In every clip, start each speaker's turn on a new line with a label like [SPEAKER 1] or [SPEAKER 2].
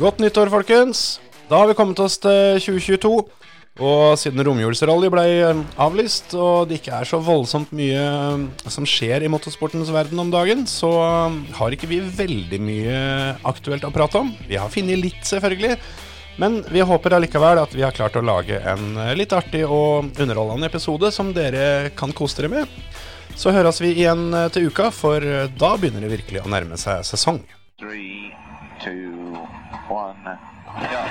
[SPEAKER 1] Godt nyttår, folkens! Da har vi kommet oss til 2022. Og siden romjulsrally ble eh, avlyst, og det ikke er så voldsomt mye eh, som skjer i motorsportens verden om dagen, så eh, har ikke vi veldig mye aktuelt å prate om. Vi har funnet litt, selvfølgelig. Men vi håper allikevel at vi har klart å lage en eh, litt artig og underholdende episode som dere kan kose dere med. Så høres vi igjen eh, til uka, for eh, da begynner det virkelig å nærme seg sesong.
[SPEAKER 2] Three, two, one, go.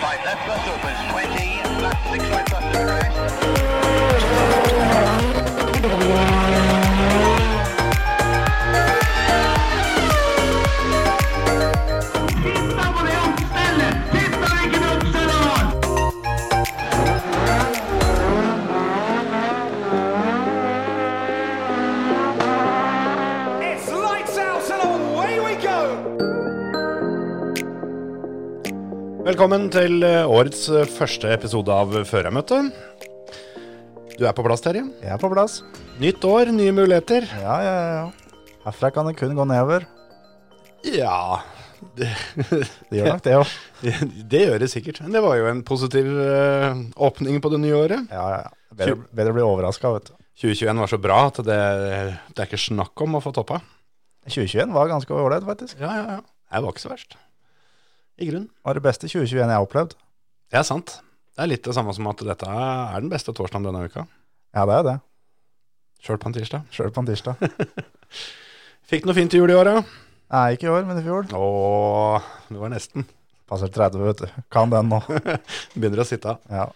[SPEAKER 2] Five left bus opens, 20, left six right bus turn right.
[SPEAKER 3] Titta på det omstället! Titta vilken uppställning de har!
[SPEAKER 4] It's lights out and away we go!
[SPEAKER 1] Velkommen til eh, årets eh, første episode av Førermøtet. Du er på plass, Terje.
[SPEAKER 5] Jeg er på plass.
[SPEAKER 1] Nytt år, nye muligheter.
[SPEAKER 5] Ja, ja, ja. Herfra kan det kun gå nedover.
[SPEAKER 1] Ja Det,
[SPEAKER 5] Det gjør nok det òg.
[SPEAKER 1] det gjør det sikkert. Men Det var jo en positiv eh, åpning på det nye året.
[SPEAKER 5] Ja, ja, ja. Bedre, bedre bli overraska, vet du.
[SPEAKER 1] 2021 var så bra at det, det er ikke snakk om å få toppa.
[SPEAKER 5] 2021 var ganske ålreit, faktisk.
[SPEAKER 1] Ja, ja, ja. Det var ikke så verst. I grunnen.
[SPEAKER 5] Det var det beste 2021 jeg har opplevd.
[SPEAKER 1] Det er sant. Det er litt det samme som at dette er den beste torsdagen denne uka.
[SPEAKER 5] Ja, det er det.
[SPEAKER 1] Sjøl på en tirsdag.
[SPEAKER 5] Sjøl på en tirsdag.
[SPEAKER 1] Fikk noe fint i jul i år, ja?
[SPEAKER 5] Nei, ikke i år, men i fjor.
[SPEAKER 1] Åh, det var nesten.
[SPEAKER 5] Passer 30, vet du. Kan den nå.
[SPEAKER 1] Begynner å sitte av.
[SPEAKER 5] Ja,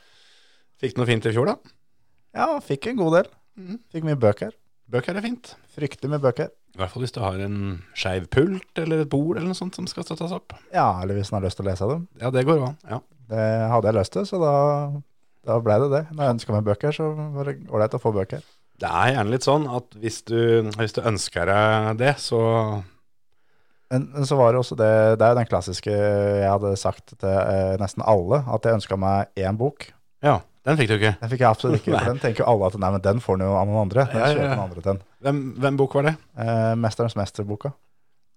[SPEAKER 1] Fikk du noe fint i fjor, da?
[SPEAKER 5] ja fikk en god del. Fikk mye bøker.
[SPEAKER 1] Bøker er fint.
[SPEAKER 5] Fryktelig mye bøker.
[SPEAKER 1] I hvert fall hvis du har en skeiv pult eller et bord eller noe sånt som skal støttes opp.
[SPEAKER 5] Ja, eller hvis en har lyst til å lese dem.
[SPEAKER 1] Ja, det går an. Ja.
[SPEAKER 5] Det hadde jeg lyst til, så da, da ble det det. Når jeg ønska meg bøker, så var det ålreit å få bøker.
[SPEAKER 1] Det er gjerne litt sånn at hvis du, hvis du ønsker deg det, så
[SPEAKER 5] Men men så var det også det Det er jo den klassiske jeg hadde sagt til eh, nesten alle, at jeg ønska meg én bok.
[SPEAKER 1] Ja, den fikk du ikke.
[SPEAKER 5] Den fikk jeg absolutt ikke. For den tenker jo alle at nei, men den får den jo av noen andre. Den
[SPEAKER 1] Ja, ja,
[SPEAKER 5] kjøper
[SPEAKER 1] ja.
[SPEAKER 5] noen andre den.
[SPEAKER 1] Hvem, hvem bok var det?
[SPEAKER 5] Eh, 'Mesterens mester'-boka.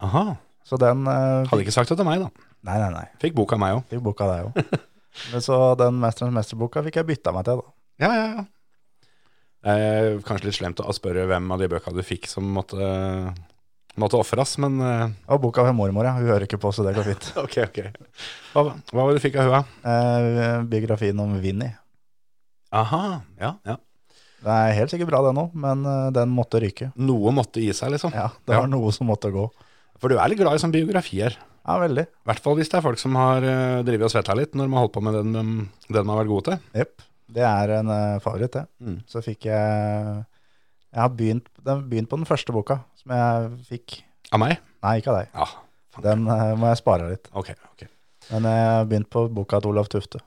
[SPEAKER 1] Aha.
[SPEAKER 5] Så den eh, fikk-
[SPEAKER 1] Hadde ikke sagt det til meg, da.
[SPEAKER 5] Nei, nei, nei.
[SPEAKER 1] Fikk bok av meg òg.
[SPEAKER 5] Fikk boka der jo. Men så den 'Mesterens mester'-boka fikk jeg bytta meg til, da.
[SPEAKER 1] Ja, ja, ja. Eh, kanskje litt slemt å spørre hvem av de bøka du fikk som måtte, måtte ofres, men eh,
[SPEAKER 5] Og boka ved mormor, ja. Hun hører ikke på, så det går fint.
[SPEAKER 1] Ok, ok. Hva, hva var det du fikk av hua?
[SPEAKER 5] Eh, biografien om Vinni.
[SPEAKER 1] Aha, ja, ja.
[SPEAKER 5] Det er helt sikkert bra, den òg, men eh, den måtte ryke.
[SPEAKER 1] Noe måtte gi seg, liksom.
[SPEAKER 5] Ja, det
[SPEAKER 1] Ja.
[SPEAKER 5] var noe som måtte gå.
[SPEAKER 1] For du er litt glad i sånne biografier.
[SPEAKER 5] Ja, veldig.
[SPEAKER 1] I hvert fall hvis det er folk som har uh, drivet og svetta litt når de har holdt på med den, um, den de har vært gode til.
[SPEAKER 5] Jepp. Det er en eh, favoritt, det.
[SPEAKER 1] Mm.
[SPEAKER 5] Så fikk jeg Jeg har begynt, den, begynt på den første boka som jeg fikk.
[SPEAKER 1] Av meg?
[SPEAKER 5] Nei, ikke av deg.
[SPEAKER 1] Ja.
[SPEAKER 5] Den eh, må jeg spare litt.
[SPEAKER 1] Ok. ok.
[SPEAKER 5] Men jeg har begynt på boka til Olav Tufte.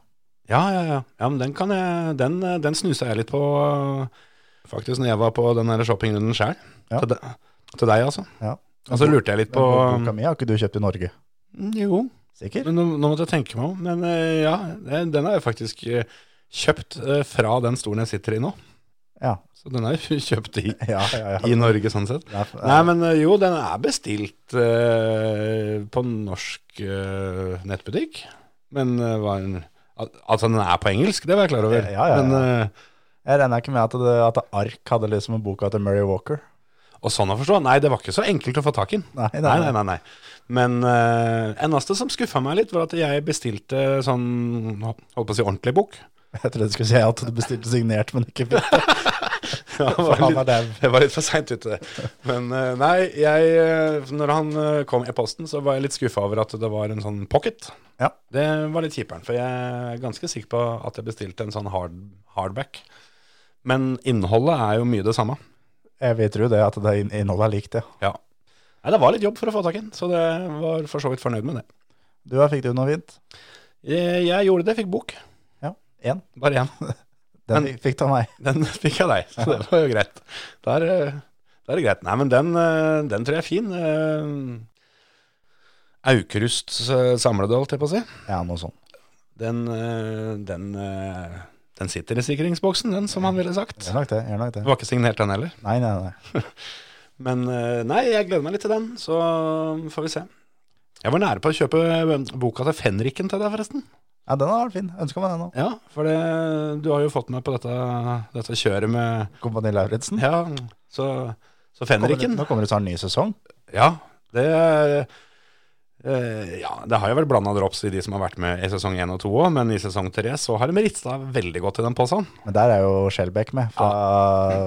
[SPEAKER 1] Ja, ja, ja. ja men den, kan jeg, den, eh, den snusa jeg litt på eh, faktisk når jeg var på den her shoppingrunden sjøl.
[SPEAKER 5] Ja.
[SPEAKER 1] Til, de- til deg, altså.
[SPEAKER 5] Ja.
[SPEAKER 1] Og så lurte jeg litt
[SPEAKER 5] Den
[SPEAKER 1] på um,
[SPEAKER 5] boka mi har ikke du kjøpt i Norge.
[SPEAKER 1] Mm, Jo,
[SPEAKER 5] Sikker?
[SPEAKER 1] men nå, nå måtte jeg tenke meg om. Men eh, ja, den den har jeg faktisk eh, kjøpt eh, fra den stolen jeg sitter i nå.
[SPEAKER 5] Ja.
[SPEAKER 1] Så den er jo kjøpt i,
[SPEAKER 5] Ja, ja, ja.
[SPEAKER 1] i Norge, sånn sett.
[SPEAKER 5] Det er-
[SPEAKER 1] Nei, men eh, jo, den er bestilt eh, på norsk eh, nettbutikk. Men eh, var en, at, at altså, den er på engelsk, det var jeg klar over.
[SPEAKER 5] Ja, ja, ja.
[SPEAKER 1] Men, eh,
[SPEAKER 5] Jeg regner ikke med at, det, at Ark hadde liksom en boka til Murray Walker.
[SPEAKER 1] og sånn å forstå. Nei, det var ikke så enkelt å få tak i den.
[SPEAKER 5] Nei, det er-
[SPEAKER 1] Nei, nei, nei. nei. Men uh, eneste som skuffa meg litt, var at jeg bestilte sånn, holdt på å si, ordentlig bok.
[SPEAKER 5] Jeg trodde du skulle si at du bestilte signert, men ikke fikk det.
[SPEAKER 1] Ja,
[SPEAKER 5] For han er dau.
[SPEAKER 1] jeg var litt for seint ute. Men eh, nei, jeg eh, Når han eh, kom i posten, så var jeg litt skuffa over at det var en sånn pocket.
[SPEAKER 5] Ja.
[SPEAKER 1] Det var litt kjiperen, for jeg er ganske sikker på at jeg bestilte en sånn hard, hardback. Men innholdet er jo mye det samme.
[SPEAKER 5] Jeg vil tro det, at det inn- innholdet er likt, ja.
[SPEAKER 1] Ja. Nei, det var litt jobb for å få tak i den, så det var for så vidt fornøyd med det.
[SPEAKER 5] Du, her fikk du noe fint?
[SPEAKER 1] Jeg, jeg gjorde det, fikk bok.
[SPEAKER 5] Ja. Én.
[SPEAKER 1] Bare én.
[SPEAKER 5] Den
[SPEAKER 1] Men-
[SPEAKER 5] fikk- fikk du av meg.
[SPEAKER 1] Den fikk jeg av deg, så det var jo greit. Da er, det- da er det greit. Nei, men den, eh, den tror jeg er fin. Eh, Aukrusts eh, samlede, holdt jeg på å si.
[SPEAKER 5] Ja, noe sånt.
[SPEAKER 1] Den, eh, den, eh, den sitter i sikringsboksen, den, som han ville sagt.
[SPEAKER 5] Gjør nok det. Gjør nok
[SPEAKER 1] Det
[SPEAKER 5] det.
[SPEAKER 1] var ikke signert den heller.
[SPEAKER 5] Nei, nei, nei.
[SPEAKER 1] Men eh, nei, jeg gleder meg litt til den, så får vi se. Jeg var nære på å kjøpe eh, boka til Fenriken til deg, forresten.
[SPEAKER 5] Ja, den har vært fin. Ønska meg den òg.
[SPEAKER 1] Ja, for det, du har jo fått meg på dette, dette kjøret med
[SPEAKER 5] Kompani Lauritzen.
[SPEAKER 1] Ja, så, så Fenriken
[SPEAKER 5] Nå kommer det snart en ny sesong.
[SPEAKER 1] Ja, det er- eh, ja, det har jo vært blanda drops i de som har vært med i sesong 1 og 2 òg, men i sesong 3 så har de rista veldig godt i den posen.
[SPEAKER 5] Men der er jo Skjelbæk med, fra,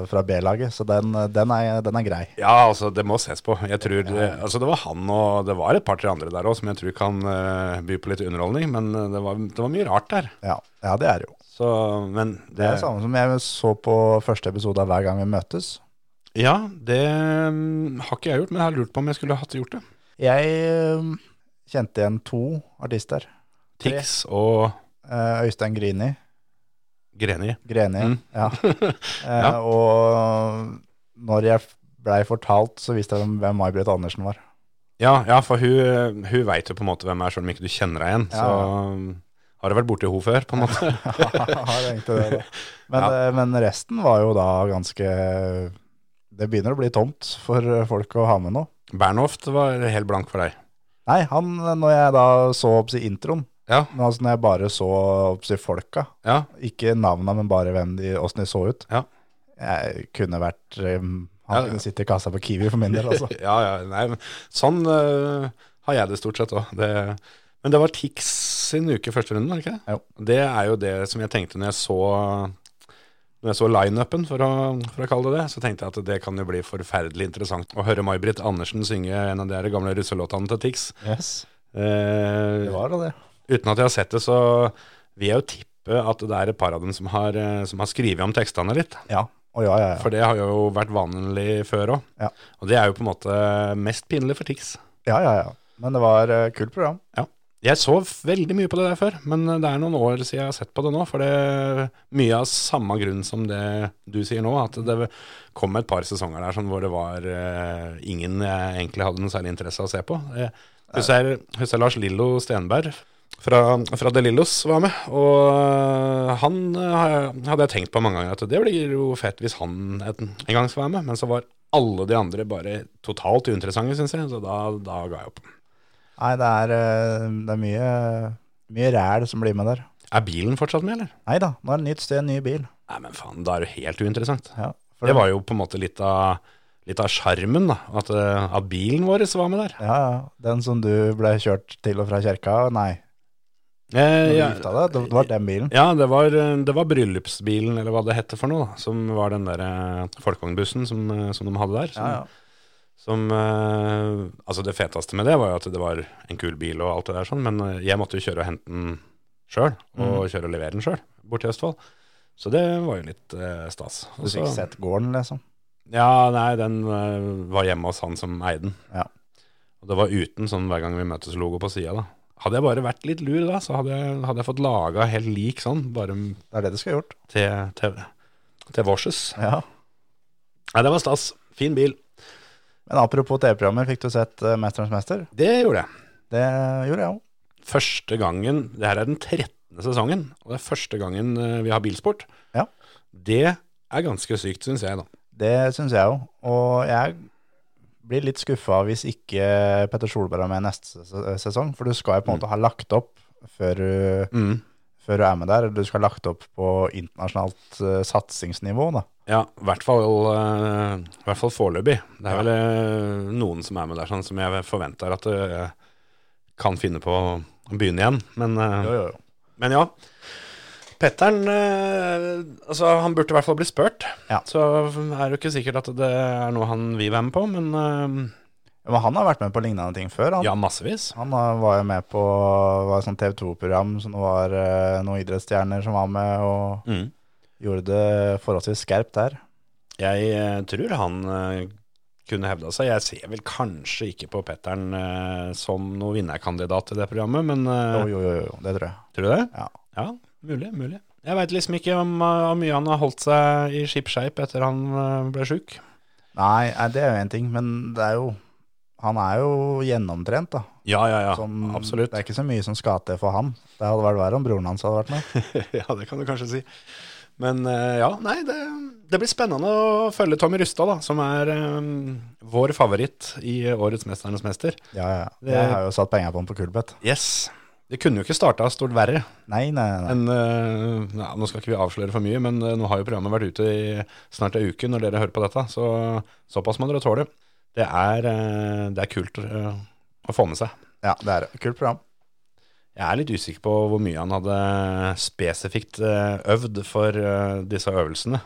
[SPEAKER 5] fra B-laget. Så den, den, er, den er grei.
[SPEAKER 1] Ja, altså, det må ses på. Jeg tror, eh, altså, Det var han og det var et par-tre andre der òg som jeg tror kan eh, by på litt underholdning, men eh, det var, det var mye rart der.
[SPEAKER 5] Ja, ja det er det jo.
[SPEAKER 1] Så, men det,
[SPEAKER 5] Det er det samme som jeg så på første episode av Hver gang vi møtes.
[SPEAKER 1] Ja, det mm, har ikke jeg gjort, men jeg har lurt på om jeg skulle hatt gjort det.
[SPEAKER 5] Jeg øhm, kjente igjen to artister.
[SPEAKER 1] Tix og
[SPEAKER 5] Eh, Øystein Grini.
[SPEAKER 1] Greni.
[SPEAKER 5] Greni,
[SPEAKER 1] Mm.
[SPEAKER 5] ja. Eh, Og når jeg blei fortalt, så visste jeg hvem May-Britt Andersen var.
[SPEAKER 1] Ja, ja for hun, hun veit jo på en måte hvem er, selv om ikke du kjenner deg igjen.
[SPEAKER 5] Ja.
[SPEAKER 1] Så um, har du vært borti henne før, på en måte.
[SPEAKER 5] Jeg tenkte det, da. men, eh, men resten var jo da ganske Det begynner å bli tomt for eh, folk å ha med nå.
[SPEAKER 1] Bernhoft var helt blank for deg.
[SPEAKER 5] Nei, han, når jeg da så opp i introen,
[SPEAKER 1] Ja,
[SPEAKER 5] men altså når jeg bare så opp i folka,
[SPEAKER 1] ja.
[SPEAKER 5] ikke navna, men bare hvem de, hvordan de så ut
[SPEAKER 1] Ja.
[SPEAKER 5] Jeg kunne vært eh,
[SPEAKER 1] Ja,
[SPEAKER 5] Han
[SPEAKER 1] ja.
[SPEAKER 5] kunne sitte i kassa på Kiwi for min del, altså.
[SPEAKER 1] ja, ja nei, men sånn øh, har jeg det stort sett òg. Men det var Tix sin uke i første runde, var det ikke det? Det er jo det som jeg tenkte når jeg så Når jeg så lineupen, for, å- for å kalle det det, så tenkte jeg at det kan jo bli forferdelig interessant å høre May-Britt Andersen synge en av de her gamle russelåtene til Tix. Eh,
[SPEAKER 5] Det var da det.
[SPEAKER 1] Uten at jeg har sett det, så vil jeg jo tippe at det er et par av dem som har, eh, som har skrevet om tekstene litt.
[SPEAKER 5] Ja. Å ja, ja, ja.
[SPEAKER 1] For det har jo vært vanlig før òg.
[SPEAKER 5] Ja.
[SPEAKER 1] Og det er jo på en måte mest pinlig for Tix.
[SPEAKER 5] ja, ja, ja. Men det var eh, kult program.
[SPEAKER 1] Ja. Jeg så veldig mye på det der før, men det er noen år siden jeg har sett på det nå. For det er mye av samme grunn som det du sier nå, at det kom et par sesonger der som hvor det var eh, ingen jeg egentlig hadde noe særlig interesse av å se på. Eh, Husker jeg- husker jeg Lars Lillo Stenberg fra, fra De Lillos var med, og han eh, har- hadde jeg tenkt på mange ganger at det blir jo fett hvis han et, en gang skal være med, men så var alle de andre bare totalt uinteressante, syns jeg, så da, da ga jeg opp.
[SPEAKER 5] Nei, det er, eh, det er mye, mye ræl som blir med der.
[SPEAKER 1] Er bilen fortsatt med, eller?
[SPEAKER 5] Nei da, nå er det nytt sted, ny bil.
[SPEAKER 1] Nei, men faen, da er det jo helt uinteressant.
[SPEAKER 5] Ja, for
[SPEAKER 1] Det var jo på en måte litt av Litt av skjermen da, at, eh, at bilen vår var med der.
[SPEAKER 5] Ja, ja. Den som du ble kjørt til og fra kjerka, nei.
[SPEAKER 1] Eh,
[SPEAKER 5] Når du
[SPEAKER 1] ja,
[SPEAKER 5] gifta deg, det var den bilen.
[SPEAKER 1] ja det, var, eh, det var bryllupsbilen, eller hva det heter for noe, da, som var den der eh, folkevognbussen som, eh, som de hadde der. Som,
[SPEAKER 5] Ja, ja.
[SPEAKER 1] som eh, Altså, det feteste med det var jo at det var en kul bil og alt det der sånn, men eh, jeg måtte jo kjøre og hente den sjøl,
[SPEAKER 5] Mm.
[SPEAKER 1] og kjøre og levere den sjøl, bort til Østfold. Så det var jo litt eh, stas.
[SPEAKER 5] Du fikk
[SPEAKER 1] Også-
[SPEAKER 5] sett gården, liksom.
[SPEAKER 1] Ja, nei, den eh, var hjemme hos han som eide den.
[SPEAKER 5] Ja.
[SPEAKER 1] Og det var uten sånn hver gang vi møtes logo på sida, da. Hadde jeg bare vært litt lur da, så hadde jeg, hadde jeg fått laga helt lik sånn, bare m-
[SPEAKER 5] Det er det du skulle gjort.
[SPEAKER 1] til, til, til vorses.
[SPEAKER 5] Ja.
[SPEAKER 1] Nei, det var stas. Fin bil.
[SPEAKER 5] Men apropos TV-programmet, fikk du sett eh, Mesterens mester?
[SPEAKER 1] Det gjorde jeg.
[SPEAKER 5] Det gjorde jeg òg.
[SPEAKER 1] Første gangen Det her er den 13. sesongen, og det er første gangen eh, vi har bilsport.
[SPEAKER 5] Ja.
[SPEAKER 1] Det er ganske sykt, syns jeg, da.
[SPEAKER 5] Det syns jeg òg. Og jeg blir litt skuffa hvis ikke Petter Solberg er med neste ses- eh, sesong, for du skal jo på en måte ha lagt opp før du,
[SPEAKER 1] Mm.
[SPEAKER 5] før du er med der. eller Du skal ha lagt opp på internasjonalt eh, satsingsnivå, da.
[SPEAKER 1] Ja, i hvert fall, eh, i hvert fall foreløpig. Det er vel eh, noen som er med der, sånn som jeg forventer at eh, kan finne på å begynne igjen. Men, eh,
[SPEAKER 5] Jo, jo, jo.
[SPEAKER 1] men ja. Petteren eh, altså, Han burde i hvert fall bli spurt.
[SPEAKER 5] Ja.
[SPEAKER 1] Så er det jo ikke sikkert at det er noe han vil være med på, men
[SPEAKER 5] Ja, Men han har vært med på lignende ting før,
[SPEAKER 1] eh,
[SPEAKER 5] han.
[SPEAKER 1] ja, massevis.
[SPEAKER 5] Han eh, var jo med på var sånn et sånt TV 2-program som det var eh, noen idrettsstjerner som var med, og
[SPEAKER 1] Mm.
[SPEAKER 5] gjorde det forholdsvis skerpt der.
[SPEAKER 1] Jeg eh, tror han eh, kunne hevda seg. Jeg ser vel kanskje ikke på Petteren eh, som noen vinnerkandidat i det programmet, men eh,
[SPEAKER 5] Jo, jo, jo, jo, det tror jeg.
[SPEAKER 1] Tror du det?
[SPEAKER 5] Ja.
[SPEAKER 1] Ja, mulig, mulig. Jeg veit liksom ikke om, eh, hvor mye han har holdt seg i skipskeip etter han eh, ble sjuk.
[SPEAKER 5] Nei, nei, det er jo én ting, men det er jo Han er jo gjennomtrent, da.
[SPEAKER 1] Ja, ja, ja.
[SPEAKER 5] Sånn,
[SPEAKER 1] Absolutt.
[SPEAKER 5] Det er ikke så mye som skal til for han. Det hadde vært verre om broren hans hadde vært med.
[SPEAKER 1] ja, det kan du kanskje si. Men eh, ja, nei, det, det blir spennende å følge Tommy Rustad, da, som er eh, vår favoritt i årets Mesternes mester.
[SPEAKER 5] Ja, ja.
[SPEAKER 1] Det-
[SPEAKER 5] Jeg har jo satt penger på den på Kulbeth.
[SPEAKER 1] Yes. Det kunne jo ikke starta stort verre
[SPEAKER 5] Nei, nei, nei.
[SPEAKER 1] enn eh, nei, Nå skal ikke vi avsløre for mye, men eh, nå har jo programmet vært ute i snart ei uke når dere hører på dette, så såpass må dere tåle. Det er, eh, det er kult eh, å få med seg.
[SPEAKER 5] Ja, det er et kult program.
[SPEAKER 1] Jeg er litt usikker på hvor mye han hadde spesifikt eh, øvd for eh, disse øvelsene.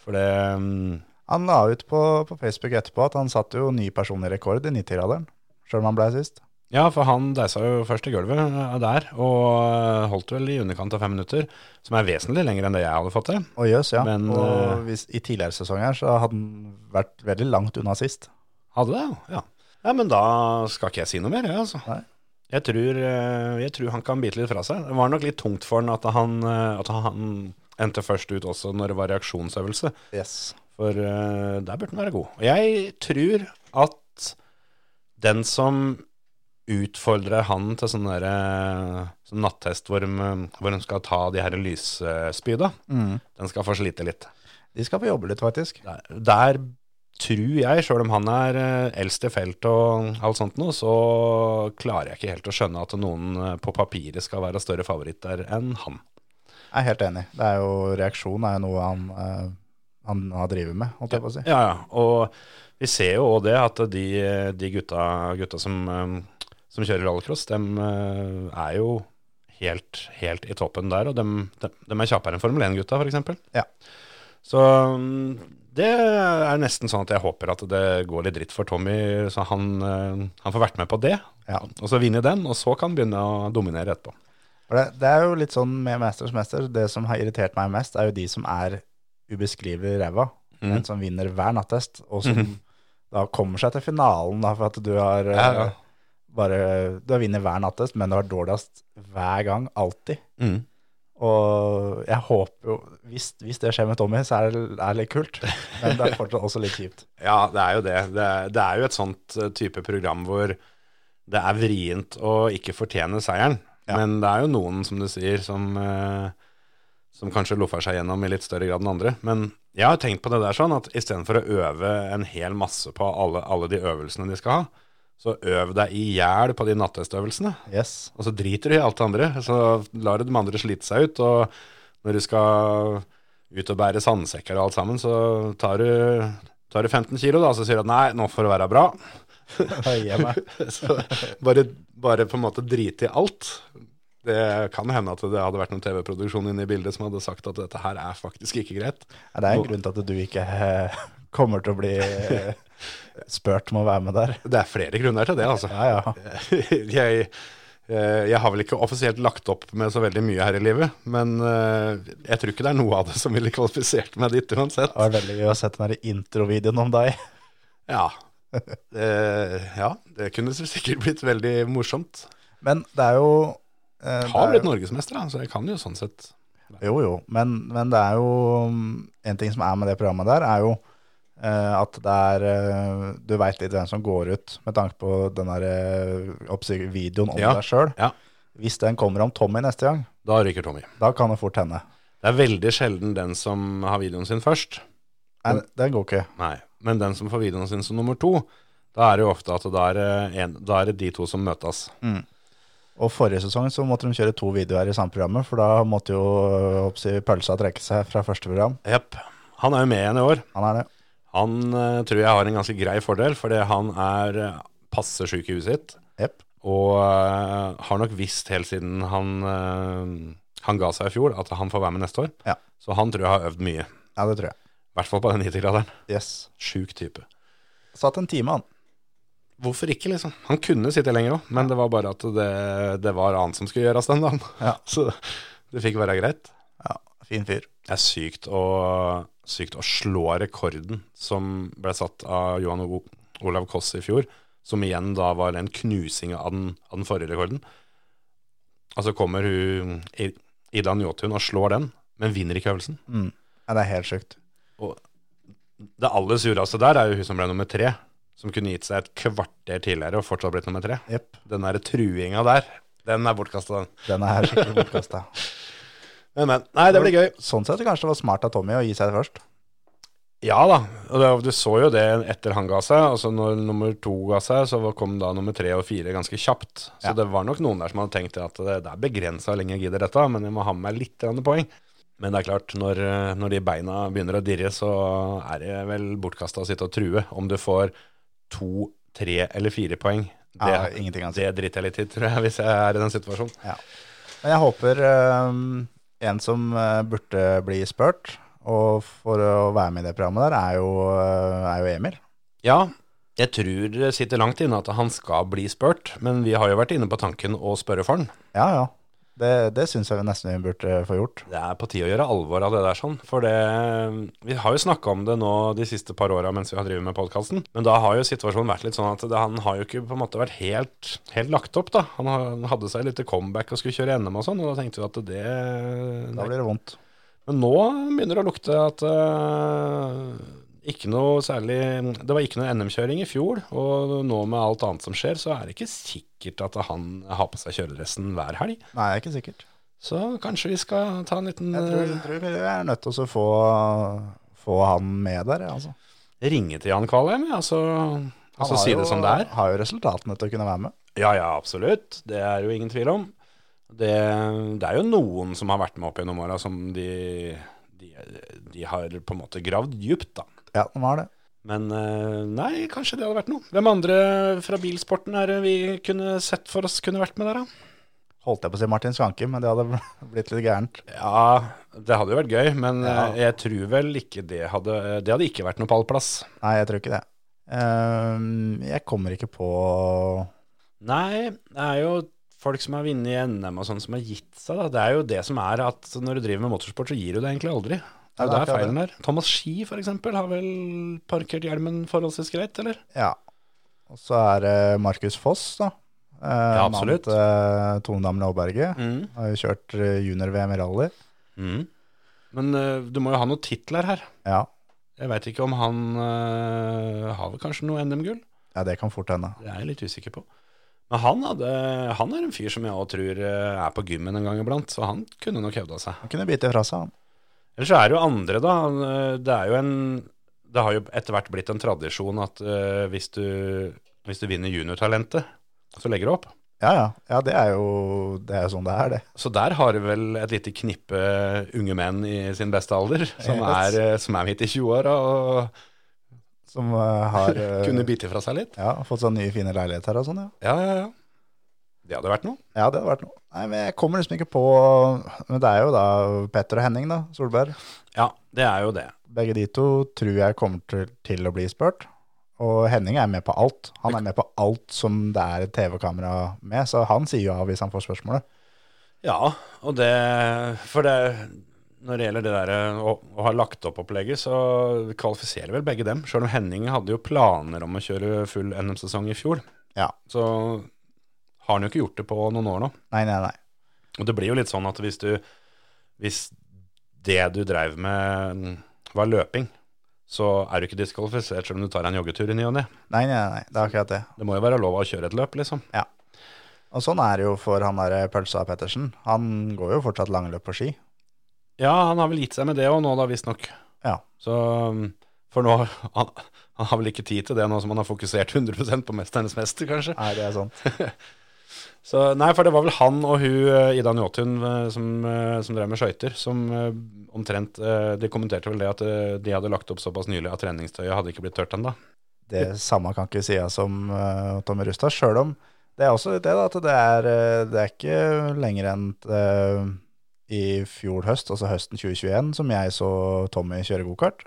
[SPEAKER 1] For det mm,
[SPEAKER 5] Han la ut på, på Facebook etterpå at han satte jo ny personlig rekord i 90-radaren. Sjøl om han ble sist.
[SPEAKER 1] Ja, for han deisa jo først i gulvet eh, der, og eh, holdt vel i underkant av fem minutter. Som er vesentlig lenger enn det jeg hadde fått til.
[SPEAKER 5] Og jøss, ja.
[SPEAKER 1] Men, eh,
[SPEAKER 5] og hvis, i tidligere sesonger så hadde han vært veldig langt unna sist.
[SPEAKER 1] Hadde det, ja. ja. Ja, men da skal ikke jeg si noe mer, jeg, altså.
[SPEAKER 5] Nei.
[SPEAKER 1] Jeg tror, eh, jeg tror han kan bite litt fra seg. Det var nok litt tungt for han at han, eh, at han endte først ut også når det var reaksjonsøvelse.
[SPEAKER 5] Yes.
[SPEAKER 1] For eh, der burde den være god. Og jeg tror at den som utfordrer han til sånn derre sånn nattest hvor de, hvor de skal ta de her lysspyda, den skal få slite litt.
[SPEAKER 5] De skal få jobbe litt, faktisk.
[SPEAKER 1] Der, der tror jeg, sjøl om han er eh, eldst i felt og alt sånt noe, så klarer jeg ikke helt å skjønne at noen eh, på papiret skal være større favoritt der enn han.
[SPEAKER 5] Jeg er helt enig. Det er jo, reaksjon er jo noe han, eh, han har drevet med, holdt jeg på å si.
[SPEAKER 1] Ja, ja. Og vi ser jo òg det at de, de gutta, gutta som, eh, som kjører rallycross, de er jo helt, helt i toppen der. Og de, er kjappere enn Formel 1-gutta, f.eks.
[SPEAKER 5] Ja.
[SPEAKER 1] Så mm, det er nesten sånn at jeg håper at det går litt dritt for Tommy, så han, eh, han får vært med på det.
[SPEAKER 5] Ja.
[SPEAKER 1] Og så vinne den, og så kan han begynne å dominere etterpå.
[SPEAKER 5] For det, det er jo litt sånn med Mesters Mester, det som har irritert meg mest, er jo de som er ubeskrivelig ræva,
[SPEAKER 1] Mm.
[SPEAKER 5] men som vinner hver nattest, og som da kommer seg til finalen da, for at du har eh,
[SPEAKER 1] Mm-hmm. Ja, ja.
[SPEAKER 5] bare, du har vinner hver nattest, men du har dårligst hver gang, alltid.
[SPEAKER 1] Mm.
[SPEAKER 5] Og jeg håper jo, hvis, hvis det skjer med Tommy, så er det, er det litt kult, men det er fortsatt også litt kjipt.
[SPEAKER 1] Ja, det er jo det. Det er, det er jo et sånt eh, type program hvor det er vrient å ikke fortjene seieren. Men det er jo noen, som du sier, som, eh, som kanskje loffer seg gjennom i litt større grad enn andre. Men jeg har tenkt på det der sånn at istedenfor å øve en hel masse på alle, alle de øvelsene de skal ha, så øv deg i hjel på de nattestøvelsene.
[SPEAKER 5] Yes.
[SPEAKER 1] Og så driter du i alt det andre. Så lar du de andre slite seg ut. Og når du skal ut og bære sandsekker og alt sammen, så tar du, tar du 15 kilo, da, så sier du at nei, nå får det være bra.
[SPEAKER 5] Da gir jeg meg.
[SPEAKER 1] så bare, bare på en måte drite i alt. Det kan hende at det hadde vært noen TV-produksjon inne i bildet som hadde sagt at dette her er faktisk ikke greit.
[SPEAKER 5] Ja, det er en grunn til at du ikke eh, kommer til å bli eh, spurt om å være med der.
[SPEAKER 1] Det er flere grunner til det, altså.
[SPEAKER 5] Ja, ja.
[SPEAKER 1] jeg, eh, jeg har vel ikke offisielt lagt opp med så veldig mye her i livet, men eh, jeg tror ikke det er noe av det som ville kvalifisert meg dit uansett.
[SPEAKER 5] Det var veldig gøy å se den der introvideoen om deg.
[SPEAKER 1] Ja. Eh, ja, det kunne sikkert blitt veldig morsomt.
[SPEAKER 5] Men det er jo eh,
[SPEAKER 1] Jeg har
[SPEAKER 5] det
[SPEAKER 1] blitt
[SPEAKER 5] er,
[SPEAKER 1] norgesmester, da, så jeg kan jo sånn sett
[SPEAKER 5] Jo, jo. Men, men det er jo mm, En ting som er med det programmet der, er jo eh, at det er eh, Du veit litt hvem som går ut, med tanke på den der eh, oppsig- videoen om
[SPEAKER 1] Ja.
[SPEAKER 5] deg sjøl.
[SPEAKER 1] Ja.
[SPEAKER 5] Hvis den kommer om Tommy neste gang,
[SPEAKER 1] Da ryker Tommy.
[SPEAKER 5] da kan det fort hende.
[SPEAKER 1] Det er veldig sjelden den som har videoen sin først.
[SPEAKER 5] Nei, den går ikke.
[SPEAKER 1] Nei. Men den som får videoen sin som nummer to, da er det jo ofte at da er, det en, da er det de to som møtes.
[SPEAKER 5] Og forrige sesong så måtte de kjøre to videoer i samme programmet, for da måtte jo øh, oppsi, pølsa trekke seg fra første program.
[SPEAKER 1] Jepp. Han er jo med igjen i år.
[SPEAKER 5] Han er det.
[SPEAKER 1] Han eh, tror jeg har en ganske grei fordel, fordi han er eh, passe sjuk i huet sitt.
[SPEAKER 5] Jepp.
[SPEAKER 1] Og eh, har nok visst helt siden han, eh, han ga seg i fjor, at han får være med neste år.
[SPEAKER 5] Ja.
[SPEAKER 1] Så han tror jeg har øvd mye.
[SPEAKER 5] ja, det tror jeg.
[SPEAKER 1] I hvert fall på den 90-graderen.
[SPEAKER 5] Yes.
[SPEAKER 1] Sjuk type.
[SPEAKER 5] Satt en time, han.
[SPEAKER 1] Hvorfor ikke, liksom? Han kunne sitte lenger òg, men det var bare at det, det var annet som skulle gjøres den dagen.
[SPEAKER 5] Ja.
[SPEAKER 1] Så det fikk være greit.
[SPEAKER 5] Ja, fin fyr.
[SPEAKER 1] Det er sykt å, sykt å slå rekorden som ble satt av Johan O- Olav Koss i fjor, som igjen da var en knusing av den, av den forrige rekorden. Og så kommer hun, I- Ida Njåtun og slår den, men vinner ikke øvelsen.
[SPEAKER 5] Ja, det er helt sjukt.
[SPEAKER 1] Det aller sureste der er jo hun som ble nummer tre, som kunne gitt seg et kvarter tidligere og fortsatt blitt nummer tre.
[SPEAKER 5] Jepp.
[SPEAKER 1] Den der truinga der, den er bortkasta, den.
[SPEAKER 5] Den er skikkelig bortkasta.
[SPEAKER 1] Men, men. Nei, det blir gøy.
[SPEAKER 5] Sånn sett kanskje det var smart av Tommy å gi seg først.
[SPEAKER 1] Ja da, og det, du så jo det etter han ga seg. Altså når nummer to ga seg, så kom da nummer tre og fire ganske kjapt. Så
[SPEAKER 5] Ja.
[SPEAKER 1] det var nok noen der som hadde tenkt at det, det er begrensa hvor lenge jeg gidder dette, men jeg må ha med meg litt grann poeng. Men det er klart, når, eh, når de beina begynner å dirre, så er det vel bortkasta å sitte og true om du får to, tre eller fire poeng. Det,
[SPEAKER 5] Ja, ingenting å si.
[SPEAKER 1] det driter jeg litt i, tror jeg, hvis jeg er i den situasjonen.
[SPEAKER 5] Men jeg håper eh, en som eh, burde bli spurt, og for å være med i det programmet der, er jo, eh, er jo Emil.
[SPEAKER 1] Ja, jeg tror det sitter langt inne at han skal bli spurt, men vi har jo vært inne på tanken å spørre for han.
[SPEAKER 5] Ja, ja. Det, det syns jeg nesten vi burde få gjort.
[SPEAKER 1] Det er på tide å gjøre alvor av det der sånn, for det, vi har jo snakka om det nå de siste par åra mens vi har drevet med podkasten, men da har jo situasjonen vært litt sånn at det, han har jo ikke på en måte vært helt, helt lagt opp, da. Han har- han hadde seg et lite comeback og skulle kjøre NM og sånn, og da tenkte vi at det,
[SPEAKER 5] Da blir det vondt.
[SPEAKER 1] Men nå begynner det å lukte at eh, ikke noe særlig Det var ikke noe NM-kjøring i fjor, og nå med alt annet som skjer, så er det ikke sikkert at han har på seg kjøredressen hver helg.
[SPEAKER 5] Nei, det er ikke sikkert.
[SPEAKER 1] Så kanskje vi skal ta en liten
[SPEAKER 5] Jeg tror,
[SPEAKER 1] eh,
[SPEAKER 5] tror vi er nødt til å få, få han med der, ja, altså.
[SPEAKER 1] ringe til Jan Kvalheim, ja, så og så
[SPEAKER 5] har
[SPEAKER 1] altså si
[SPEAKER 5] jo-
[SPEAKER 1] det som det er.
[SPEAKER 5] Har jo resultatene til å kunne være med.
[SPEAKER 1] Ja, ja, absolutt. Det er jo ingen tvil om. Det, det er jo noen som har vært med opp gjennom åra, som de, de, de har på en måte gravd djupt, da.
[SPEAKER 5] Ja, de har det.
[SPEAKER 1] Men eh, nei, kanskje det hadde vært noe. Hvem andre fra bilsporten er det vi kunne sett for oss kunne vært med der, da?
[SPEAKER 5] Holdt jeg på å si Martin Skanke, men det hadde blitt litt gærent.
[SPEAKER 1] Ja, det hadde jo vært gøy, men
[SPEAKER 5] Ja.
[SPEAKER 1] eh, jeg tror vel ikke det hadde Det hadde ikke vært noe pallplass.
[SPEAKER 5] Nei, jeg tror ikke det. Ehm, jeg kommer ikke på
[SPEAKER 1] Nei, det er jo folk som har vunnet i NM og sånn, som har gitt seg, da. Det er jo det som er at når du driver med motorsport, så gir du det egentlig aldri. Det er
[SPEAKER 5] Ja,
[SPEAKER 1] jo
[SPEAKER 5] det er
[SPEAKER 1] der
[SPEAKER 5] akkurat
[SPEAKER 1] feilen er. Thomas Ski, for eksempel, har vel parkert hjelmen forholdsvis greit, eller?
[SPEAKER 5] Ja. Og så er det Markus Foss, da. Eh,
[SPEAKER 1] Ja, absolutt.
[SPEAKER 5] mannen til Tone Damli Aaberge.
[SPEAKER 1] Mm.
[SPEAKER 5] Har jo kjørt eh, junior-VM i rally.
[SPEAKER 1] Men eh, du må jo ha noen titler her.
[SPEAKER 5] Ja.
[SPEAKER 1] Jeg veit ikke om han eh, har vel kanskje noe NM-gull?
[SPEAKER 5] ja, det kan fort hende.
[SPEAKER 1] Det er jeg litt usikker på. Men han, hadde, han er en fyr som jeg òg tror eh, er på gymmen en gang iblant, så han kunne nok hevda seg.
[SPEAKER 5] Han kunne bite fra seg, han.
[SPEAKER 1] Ellers så er det jo andre, da. Eh, Det er jo en Det har jo etter hvert blitt en tradisjon at eh, hvis, du, hvis du vinner juniortalentet, så legger du opp.
[SPEAKER 5] Ja, ja. ja det, er jo, det er jo sånn det er, det.
[SPEAKER 1] Så der har du vel et lite knippe unge menn i sin beste alder, som
[SPEAKER 5] Yes.
[SPEAKER 1] er, eh, som er midt i 20-åra og
[SPEAKER 5] Som eh, har eh,
[SPEAKER 1] kunne bite fra seg litt.
[SPEAKER 5] ja, fått seg nye, fine leiligheter og sånn, ja.
[SPEAKER 1] Ja, ja, ja. Det hadde vært noe.
[SPEAKER 5] Ja, det hadde vært noe. Nei, men jeg kommer liksom ikke på Men det er jo da Petter og Henning, da, Solberg.
[SPEAKER 1] Ja, det er jo det.
[SPEAKER 5] Begge de to tror jeg kommer til, til å bli spurt. Og Henning er med på alt. Han er med på alt som det er et TV-kamera med, så han sier jo ja hvis han får spørsmålet.
[SPEAKER 1] Ja, og det For det når det gjelder det der eh, å, å ha lagt opp opplegget, så kvalifiserer vel begge dem. Sjøl om Henning hadde jo planer om å kjøre full NM-sesong i fjor,
[SPEAKER 5] Ja.
[SPEAKER 1] så har han jo ikke gjort det på noen år nå.
[SPEAKER 5] Nei, nei, nei.
[SPEAKER 1] Og det blir jo litt sånn at hvis du Hvis det du dreiv med mm, var løping, så er du ikke diskvalifisert selv om du tar en joggetur i ny og ne.
[SPEAKER 5] Nei, nei, nei, det er akkurat det.
[SPEAKER 1] Det må jo være lov å kjøre et løp, liksom.
[SPEAKER 5] Og sånn er det jo for han der Pølsa Pettersen. Han går jo fortsatt langløp på ski.
[SPEAKER 1] Ja, han har vel gitt seg med det òg nå, da, visstnok.
[SPEAKER 5] Ja.
[SPEAKER 1] Så um, For nå han, han har vel ikke tid til det nå som han har fokusert 100 på 'Mesternes mester', kanskje.
[SPEAKER 5] Nei, det sånn? er sant.
[SPEAKER 1] Så nei, for det var vel han og hun eh, Ida Njåtun eh, som, eh, som drev med skøyter, som eh, omtrent eh, De kommenterte vel det at eh, de hadde lagt opp såpass nylig at treningstøyet hadde ikke blitt tørt ennå.
[SPEAKER 5] Det samme kan ikke sies om eh, Tommy Rustad, sjøl om det er også litt det, da, at det er, eh, det er ikke lenger enn eh, i fjor høst, altså høsten 2021, som jeg så Tommy kjøre gokart.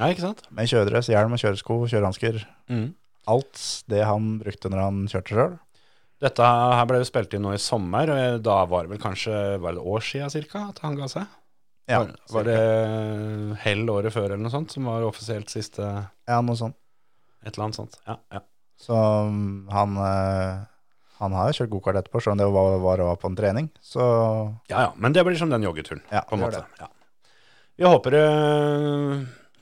[SPEAKER 1] Nei, ikke sant?
[SPEAKER 5] Med kjøredress, hjelm og kjøresko, kjørehansker.
[SPEAKER 1] Mm.
[SPEAKER 5] Alt det han brukte når han kjørte sjøl.
[SPEAKER 1] Dette her ble jo spilt inn nå i sommer, og eh, da var det vel kanskje Var det et år siden cirka at han ga seg?
[SPEAKER 5] Ja,
[SPEAKER 1] var, var det eh, hell året før eller noe sånt som var offisielt siste et
[SPEAKER 5] ja, noe sånt.
[SPEAKER 1] eller annet sånt? Ja, ja.
[SPEAKER 5] Så mm, han, eh, han har jo kjørt gokart etterpå, sjøl om det var, var, var på en trening. Så
[SPEAKER 1] Ja, ja, men det blir som den joggeturen,
[SPEAKER 5] Ja,
[SPEAKER 1] på en
[SPEAKER 5] det gjør
[SPEAKER 1] måte. Ja. Vi håper det eh,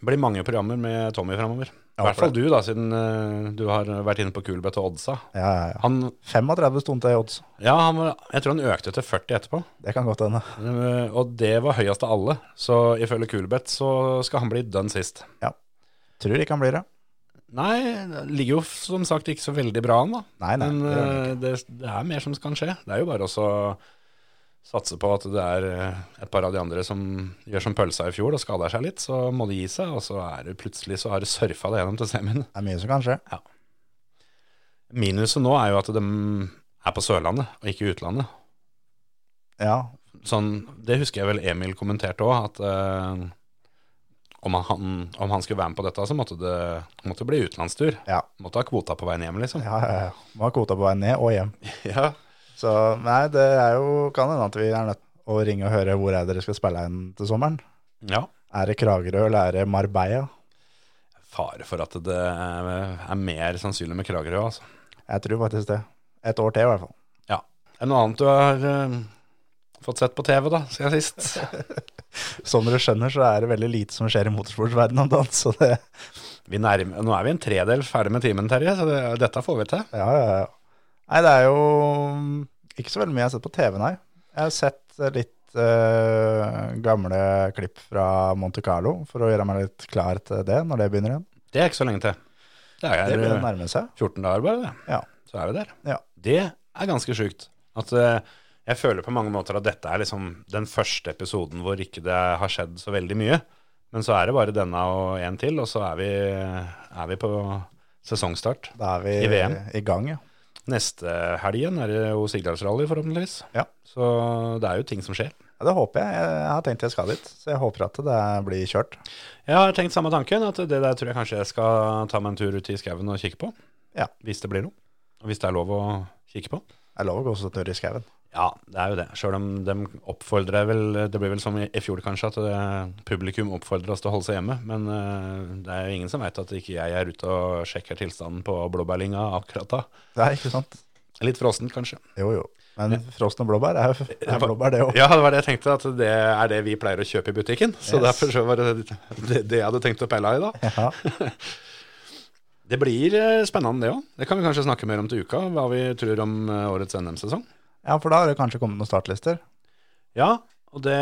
[SPEAKER 1] blir mange programmer med Tommy framover. I hvert fall du, da, siden eh, du har vært inne på Kulbeth og Oddsa.
[SPEAKER 5] ja, ja, ja.
[SPEAKER 1] Han,
[SPEAKER 5] 35 stunder i odds.
[SPEAKER 1] ja, han var, jeg tror han økte til 40 etterpå,
[SPEAKER 5] Det kan godt hende.
[SPEAKER 1] Eh, og det var høyest av alle. Så ifølge Kulbeth så skal han bli dønn sist.
[SPEAKER 5] Ja. Tror ikke han blir det.
[SPEAKER 1] Nei, det ligger jo f- som sagt ikke så veldig bra an, da.
[SPEAKER 5] Nei, nei.
[SPEAKER 1] Men
[SPEAKER 5] det gjør han ikke.
[SPEAKER 1] eh, det, det er mer som kan skje. Det er jo bare også å satse på at det er eh, et par av de andre som gjør som pølsa i fjor og skader seg litt. Så må de gi seg, og så er det plutselig så har det surfa det gjennom til semien.
[SPEAKER 5] det er mye som kan skje.
[SPEAKER 1] Minuset nå er jo at de er på Sørlandet og ikke i utlandet.
[SPEAKER 5] Ja,
[SPEAKER 1] sånn, det husker jeg vel Emil kommenterte òg, at eh, om, han, om han skulle være med på dette, så måtte det måtte det bli utenlandstur.
[SPEAKER 5] ja.
[SPEAKER 1] Måtte ha kvota på veien hjem, liksom.
[SPEAKER 5] ja, ja, ja. Må ha kvota på vei ned og hjem.
[SPEAKER 1] Ja.
[SPEAKER 5] Så nei, det er jo, kan hende at vi er nødt å ringe og høre hvor er dere skal spille inn til sommeren.
[SPEAKER 1] Ja.
[SPEAKER 5] Er det Kragerø eller er det Marbella?
[SPEAKER 1] Fare for at det er mer sannsynlig med Kragerø, altså.
[SPEAKER 5] Jeg tror faktisk det. Et år til i hvert fall.
[SPEAKER 1] Ja. Er det noe annet du har eh, fått sett på TV, da, siden sist?
[SPEAKER 5] Som dere skjønner så er det veldig lite som skjer i motorsportsverdenen om dagen, så det
[SPEAKER 1] Vi nærmer, nå er vi en tredel ferdig med timen, Terje, så det, dette får vi til.
[SPEAKER 5] Ja, ja, ja. Nei, det er jo mm, ikke så veldig mye jeg har sett på TV, nei. Jeg har sett eh, litt eh, gamle klipp fra Monte Carlo for å gjøre meg litt klar til det når det begynner igjen.
[SPEAKER 1] Det er ikke så lenge til. Det er,
[SPEAKER 5] Det begynner å nærme seg.
[SPEAKER 1] 14 dager bare, det.
[SPEAKER 5] Ja.
[SPEAKER 1] Så er vi der.
[SPEAKER 5] Ja.
[SPEAKER 1] Det er ganske sjukt. At eh, jeg føler på mange måter at dette er liksom den første episoden hvor ikke det har skjedd så veldig mye. Men så er det bare denne og en til, og så er vi, er vi på sesongstart.
[SPEAKER 5] Da er vi
[SPEAKER 1] I
[SPEAKER 5] i,
[SPEAKER 1] VM.
[SPEAKER 5] gang, ja.
[SPEAKER 1] Neste helgen er det jo Sigdalsrally, forhåpentligvis.
[SPEAKER 5] Ja.
[SPEAKER 1] Så det er jo ting som skjer.
[SPEAKER 5] ja. Det håper jeg. Jeg har tenkt jeg skal dit, så jeg håper at det blir kjørt.
[SPEAKER 1] Jeg har tenkt samme tanken, at det der tror jeg kanskje jeg skal ta meg en tur ut i skauen og kikke på.
[SPEAKER 5] Ja.
[SPEAKER 1] Hvis det blir noe. Og hvis det er lov å kikke på.
[SPEAKER 5] Det er lov å gå så tørr i skauen.
[SPEAKER 1] Ja, det er jo det. Sjøl om de oppfordrer vel Det blir vel som i i fjor, kanskje, at det, publikum oppfordrer oss til å holde seg hjemme. Men eh, det er jo ingen som veit at ikke jeg er ute og sjekker tilstanden på blåbærlinga akkurat da.
[SPEAKER 5] Nei, ikke sant?
[SPEAKER 1] Litt frossent, kanskje.
[SPEAKER 5] Jo, jo. Men frossen og blåbær er jo er blåbær, det òg.
[SPEAKER 1] Ja, det var det jeg tenkte, at det er det vi pleier å kjøpe i butikken. Så
[SPEAKER 5] Yes.
[SPEAKER 1] derfor så var det det, det jeg hadde tenkt å pelle i da.
[SPEAKER 5] Ja.
[SPEAKER 1] Det blir eh, spennende, det òg. Det kan vi kanskje snakke mer om til uka, hva vi tror om eh, årets NM-sesong.
[SPEAKER 5] ja, for da har det kanskje kommet noen startlister.
[SPEAKER 1] Ja, og det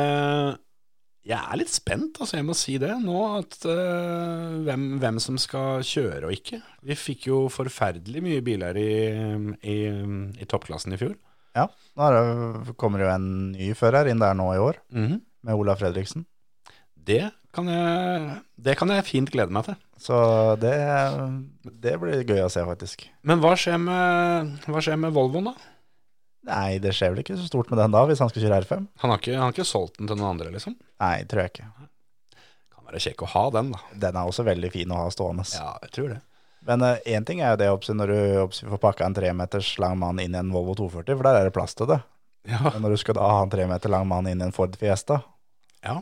[SPEAKER 1] Jeg er litt spent, altså jeg må si det nå, at eh, hvem, hvem som skal kjøre og ikke. Vi fikk jo forferdelig mye biler i, i, i toppklassen i fjor.
[SPEAKER 5] Ja, nå er det, kommer det jo en ny fører inn der nå i år,
[SPEAKER 1] Mhm.
[SPEAKER 5] med Ola Fredriksen.
[SPEAKER 1] det, kan jeg, det kan jeg fint glede meg til.
[SPEAKER 5] Så det, det blir gøy å se, faktisk.
[SPEAKER 1] Men hva skjer med, hva skjer med Volvoen, da?
[SPEAKER 5] Nei, det skjer vel ikke så stort med den da, hvis han skal kjøre R5?
[SPEAKER 1] Han har, ikke, han har ikke solgt den til noen andre, liksom?
[SPEAKER 5] Nei, tror jeg ikke.
[SPEAKER 1] Kan være kjekk å ha den, da.
[SPEAKER 5] Den er også veldig fin å ha stående.
[SPEAKER 1] Ja, jeg tror det.
[SPEAKER 5] Men én ting er jo det oppsyn når du oppsyn får pakka en tremeters lang mann inn i en Volvo 240, for der er det plass til det.
[SPEAKER 1] Ja,
[SPEAKER 5] Men når du skal da ha en tremeter lang mann inn i en Ford Fiesta,
[SPEAKER 1] ja.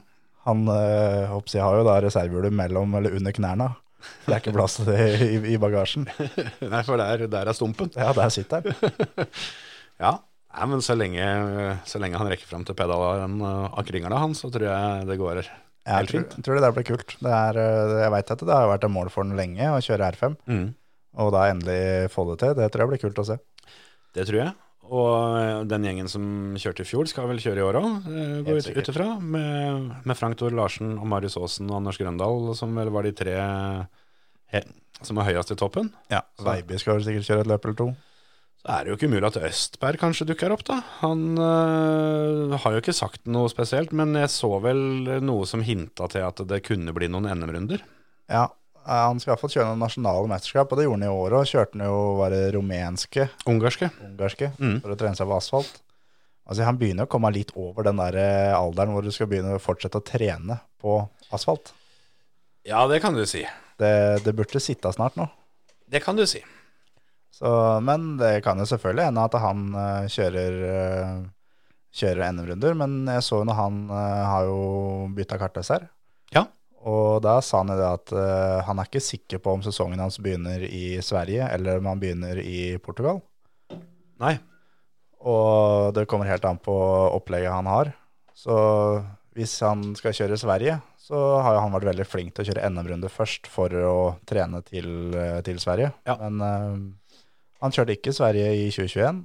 [SPEAKER 5] han eh, oppsyn, har jo da reservehjulet mellom eller under knærne. Det er ikke plass til det i, i bagasjen.
[SPEAKER 1] Nei, for der, der er stumpen.
[SPEAKER 5] Ja, der sitter han.
[SPEAKER 1] Ja, Nei, men så lenge, så lenge han rekker fram til pedalen øh, av kringlene hans, så tror jeg det går
[SPEAKER 5] Jeg
[SPEAKER 1] helt
[SPEAKER 5] tror,
[SPEAKER 1] fint.
[SPEAKER 5] tror det der blir kult. Det er, eh, jeg vet at det har vært et mål for den lenge å kjøre R5,
[SPEAKER 1] Mm.
[SPEAKER 5] og da endelig få det til. Det tror jeg blir kult å se.
[SPEAKER 1] Det tror jeg. Og øh, den gjengen som kjørte i fjor, skal vel kjøre i år òg, går
[SPEAKER 5] Helt
[SPEAKER 1] ut,
[SPEAKER 5] sikkert.
[SPEAKER 1] ut ifra. Med, med Frank Thor Larsen og Marius Aasen og Anders Grøndal, som vel var de tre he, som var høyest i toppen.
[SPEAKER 5] Ja, Veiby skal vel sikkert kjøre et løp eller to.
[SPEAKER 1] Så er det jo ikke umulig at Østberg kanskje dukker opp, da. Han øh, har jo ikke sagt noe spesielt, men jeg så vel noe som hinta til at det kunne bli noen NM-runder.
[SPEAKER 5] Ja, eh, han skal iallfall kjøre noen nasjonale mesterskap, og det gjorde han i år òg. Kjørte han jo bare rumenske,
[SPEAKER 1] Ungarske.
[SPEAKER 5] ungarske,
[SPEAKER 1] Mm.
[SPEAKER 5] for å trene seg på asfalt. Altså, Han begynner å komme litt over den der eh, alderen hvor du skal begynne å fortsette å trene på asfalt.
[SPEAKER 1] Ja, det kan du si.
[SPEAKER 5] Det, det burde sitte snart nå.
[SPEAKER 1] Det kan du si.
[SPEAKER 5] Så, men det kan jo selvfølgelig hende at han eh, kjører, eh, kjører NM-runder. Men jeg så jo når han eh, har jo bytta kartleser.
[SPEAKER 1] Ja.
[SPEAKER 5] Og da sa han jo det at eh, han er ikke sikker på om sesongen hans begynner i Sverige eller om han begynner i Portugal.
[SPEAKER 1] Nei.
[SPEAKER 5] Og det kommer helt an på opplegget han har. Så hvis han skal kjøre Sverige, så har jo han vært veldig flink til å kjøre NM-runde først for å trene til, eh, til Sverige.
[SPEAKER 1] Ja.
[SPEAKER 5] Men eh, han kjørte ikke Sverige i 2021,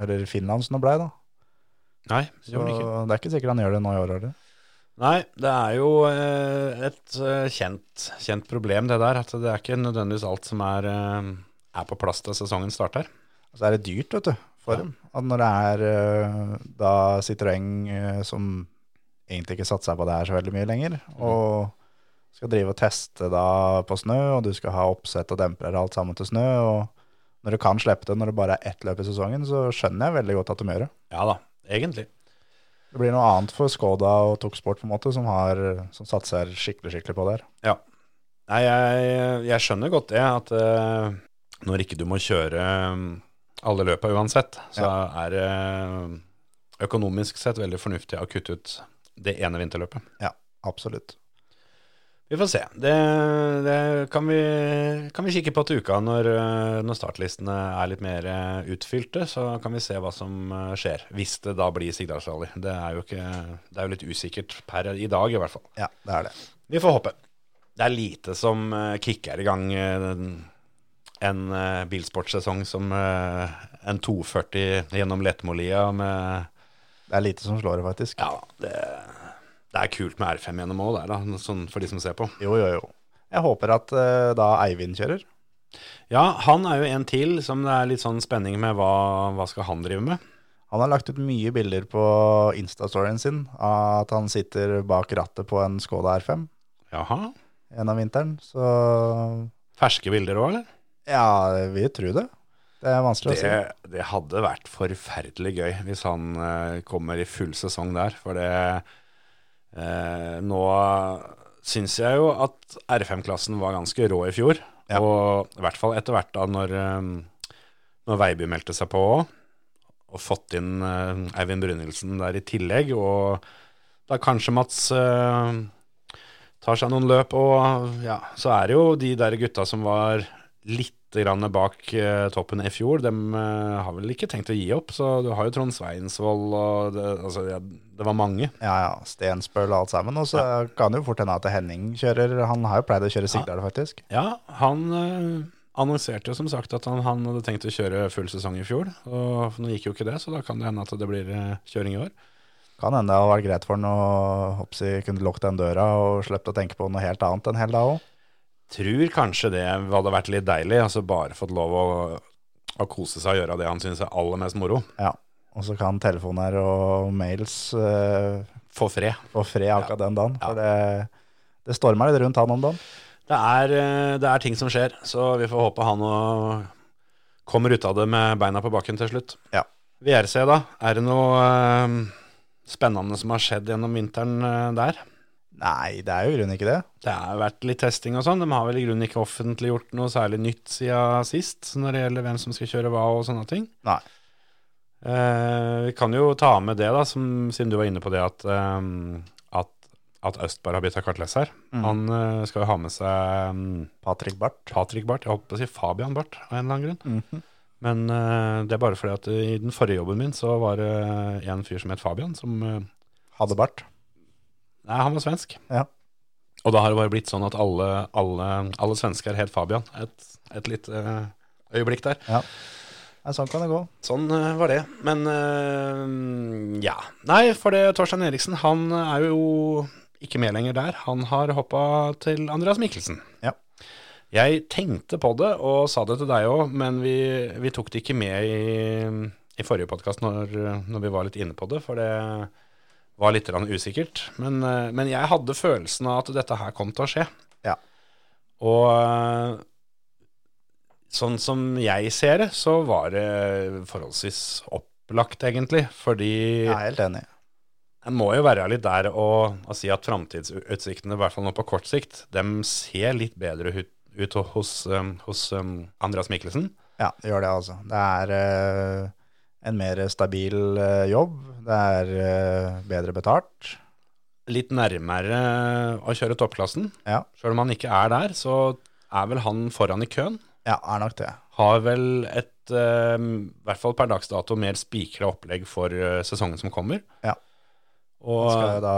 [SPEAKER 5] eller Finland som det blei da.
[SPEAKER 1] Nei, det
[SPEAKER 5] Så
[SPEAKER 1] gjorde den ikke.
[SPEAKER 5] det er ikke sikkert han gjør det nå i år heller.
[SPEAKER 1] Nei, det er jo eh, et eh, kjent, kjent problem det der, at det er ikke nødvendigvis alt som er, eh, er på plass til sesongen starter.
[SPEAKER 5] Og så er det dyrt, vet du, for dem. At når det er eh, da Citroën eh, som egentlig ikke satser på det her så veldig mye lenger, og skal drive og teste da på snø, og du skal ha oppsett og demper og alt sammen til snø, og når du kan slippe det når det bare er ett løp i sesongen, så skjønner jeg veldig godt at de gjør det.
[SPEAKER 1] Ja da, egentlig.
[SPEAKER 5] Det blir noe annet for Skoda og Toksport på en måte, som, har, som satser skikkelig, skikkelig på det her.
[SPEAKER 1] Ja. Nei, jeg, jeg skjønner godt det, at eh, når ikke du må kjøre eh, alle løpa uansett, så er det eh, økonomisk sett veldig fornuftig å kutte ut det ene vinterløpet.
[SPEAKER 5] Ja, absolutt.
[SPEAKER 1] Vi får se. Det, det kan, vi, kan vi kikke på til uka når, eh, når startlistene er litt mer eh, utfylte. Så kan vi se hva som eh, skjer, hvis det da blir Sigdalsrally. Det er jo ikke, det er jo litt usikkert per i dag, i hvert fall.
[SPEAKER 5] Ja, det er det.
[SPEAKER 1] Vi får håpe. Det er lite som eh, kicker i gang eh, den- en eh, bilsportsesong som eh, en 240 gjennom Letemolia med
[SPEAKER 5] Det er lite som slår det, faktisk.
[SPEAKER 1] Ja, det, det er kult med R5 gjennom òg, der, da, sånn for de som ser på.
[SPEAKER 5] Jo, jo, jo. Jeg håper at eh, da Eivind kjører.
[SPEAKER 1] Ja, han er jo en til som det er litt sånn spenning med. Hva, hva skal han drive med?
[SPEAKER 5] Han har lagt ut mye bilder på Insta-storyen sin av at han sitter bak rattet på en Skoda R5
[SPEAKER 1] Jaha.
[SPEAKER 5] gjennom vinteren. Så
[SPEAKER 1] Ferske bilder òg, eller?
[SPEAKER 5] ja, vi tror det. Det er vanskelig
[SPEAKER 1] Det,
[SPEAKER 5] å si.
[SPEAKER 1] det hadde vært forferdelig gøy hvis han eh, kommer i full sesong der. For det eh, Nå syns jeg jo at R5-klassen var ganske rå i fjor.
[SPEAKER 5] Ja.
[SPEAKER 1] Og i hvert fall etter hvert da når, eh, når Veiby meldte seg på òg. Og fått inn eh, Eivind Brynildsen der i tillegg. Og da kanskje Mats eh, tar seg noen løp, og ja, så er det jo de der gutta som var litt grann bak eh, toppen i fjor, dem eh, har vel ikke tenkt å gi opp, så du har jo Trond Sveinsvold, og det, altså, ja, det var mange.
[SPEAKER 5] Ja, ja. Stensbøl og alt sammen. Og så kan det jo fort hende at Henning kjører. Han har jo pleid å kjøre Sigdal, faktisk.
[SPEAKER 1] Ja, han eh, annonserte jo som sagt at han, han hadde tenkt å kjøre full sesong i fjor, og nå gikk jo ikke det, så da kan det hende at det blir eh, kjøring i år.
[SPEAKER 5] Kan hende det hadde vært greit for han å hoppsi, kunne lukket den døra og sluppet å tenke på noe helt annet en hel dag òg.
[SPEAKER 1] Tror kanskje det hadde vært litt deilig, altså bare fått lov å, å kose seg og gjøre det han synes er aller mest moro.
[SPEAKER 5] Ja. Og så kan telefoner og mails eh,
[SPEAKER 1] Få fred.
[SPEAKER 5] få fred akkurat den dagen. For det, det stormer litt rundt han om dagen.
[SPEAKER 1] det er, eh, det er ting som skjer, så vi får håpe han og kommer ut av det med beina på bakken til slutt.
[SPEAKER 5] Ja.
[SPEAKER 1] VRC, da. Er det noe eh, spennende som har skjedd gjennom vinteren eh, der?
[SPEAKER 5] Nei, det er jo i grunnen ikke det.
[SPEAKER 1] Det har vært litt testing og sånn. De har vel i grunnen ikke offentliggjort noe særlig nytt siden sist når det gjelder hvem som skal kjøre hva og sånne ting.
[SPEAKER 5] Nei.
[SPEAKER 1] Eh, vi kan jo ta med det, da, som, siden du var inne på det at, eh, at, at Østberg har bytta kartleser. Han eh, skal jo ha med seg eh,
[SPEAKER 5] Mm. Patrick Barth. Mhm.
[SPEAKER 1] Patrick Barth. Jeg holdt på å si Fabian Barth av en eller annen grunn. Men eh, det er bare fordi at i den forrige jobben min så var det eh, en fyr som het Fabian, som eh,
[SPEAKER 5] Hadde bart.
[SPEAKER 1] Nei, han var svensk.
[SPEAKER 5] Ja.
[SPEAKER 1] Og da har det bare blitt sånn at alle, alle, alle svensker het Fabian. Et, et lite eh, øyeblikk der.
[SPEAKER 5] Nei, sånn kan det gå.
[SPEAKER 1] Sånn eh, var det. Men eh, ja. Nei, for det Torstein Eriksen, han er jo ikke med lenger der. Han har hoppa til Andreas Mikkelsen.
[SPEAKER 5] Ja.
[SPEAKER 1] Jeg tenkte på det og sa det til deg òg, men vi, vi tok det ikke med i, i forrige podkast når, når vi var litt inne på det, for det var litt grann usikkert. Men, eh, men jeg hadde følelsen av at dette her kom til å skje.
[SPEAKER 5] Ja.
[SPEAKER 1] Og eh, sånn som jeg ser det, så var det forholdsvis opplagt, egentlig. Fordi
[SPEAKER 5] Jeg er helt enig.
[SPEAKER 1] en må jo være litt der og, og si at framtidsutsiktene, i hvert fall nå på kort sikt, dem ser litt bedre ut, ut hos, um, hos um, Andreas Mikkelsen.
[SPEAKER 5] Ja, det gjør det, altså. Det er eh, en mer stabil eh, jobb. Det er eh, bedre betalt.
[SPEAKER 1] Litt nærmere å kjøre toppklassen.
[SPEAKER 5] Ja.
[SPEAKER 1] Sjøl om han ikke er der, så er vel han foran i køen.
[SPEAKER 5] ja, er nok det.
[SPEAKER 1] Har vel et, eh, i hvert fall per dags dato, mer spikra opplegg for eh, sesongen som kommer.
[SPEAKER 5] Ja.
[SPEAKER 1] Og,
[SPEAKER 5] Han skal da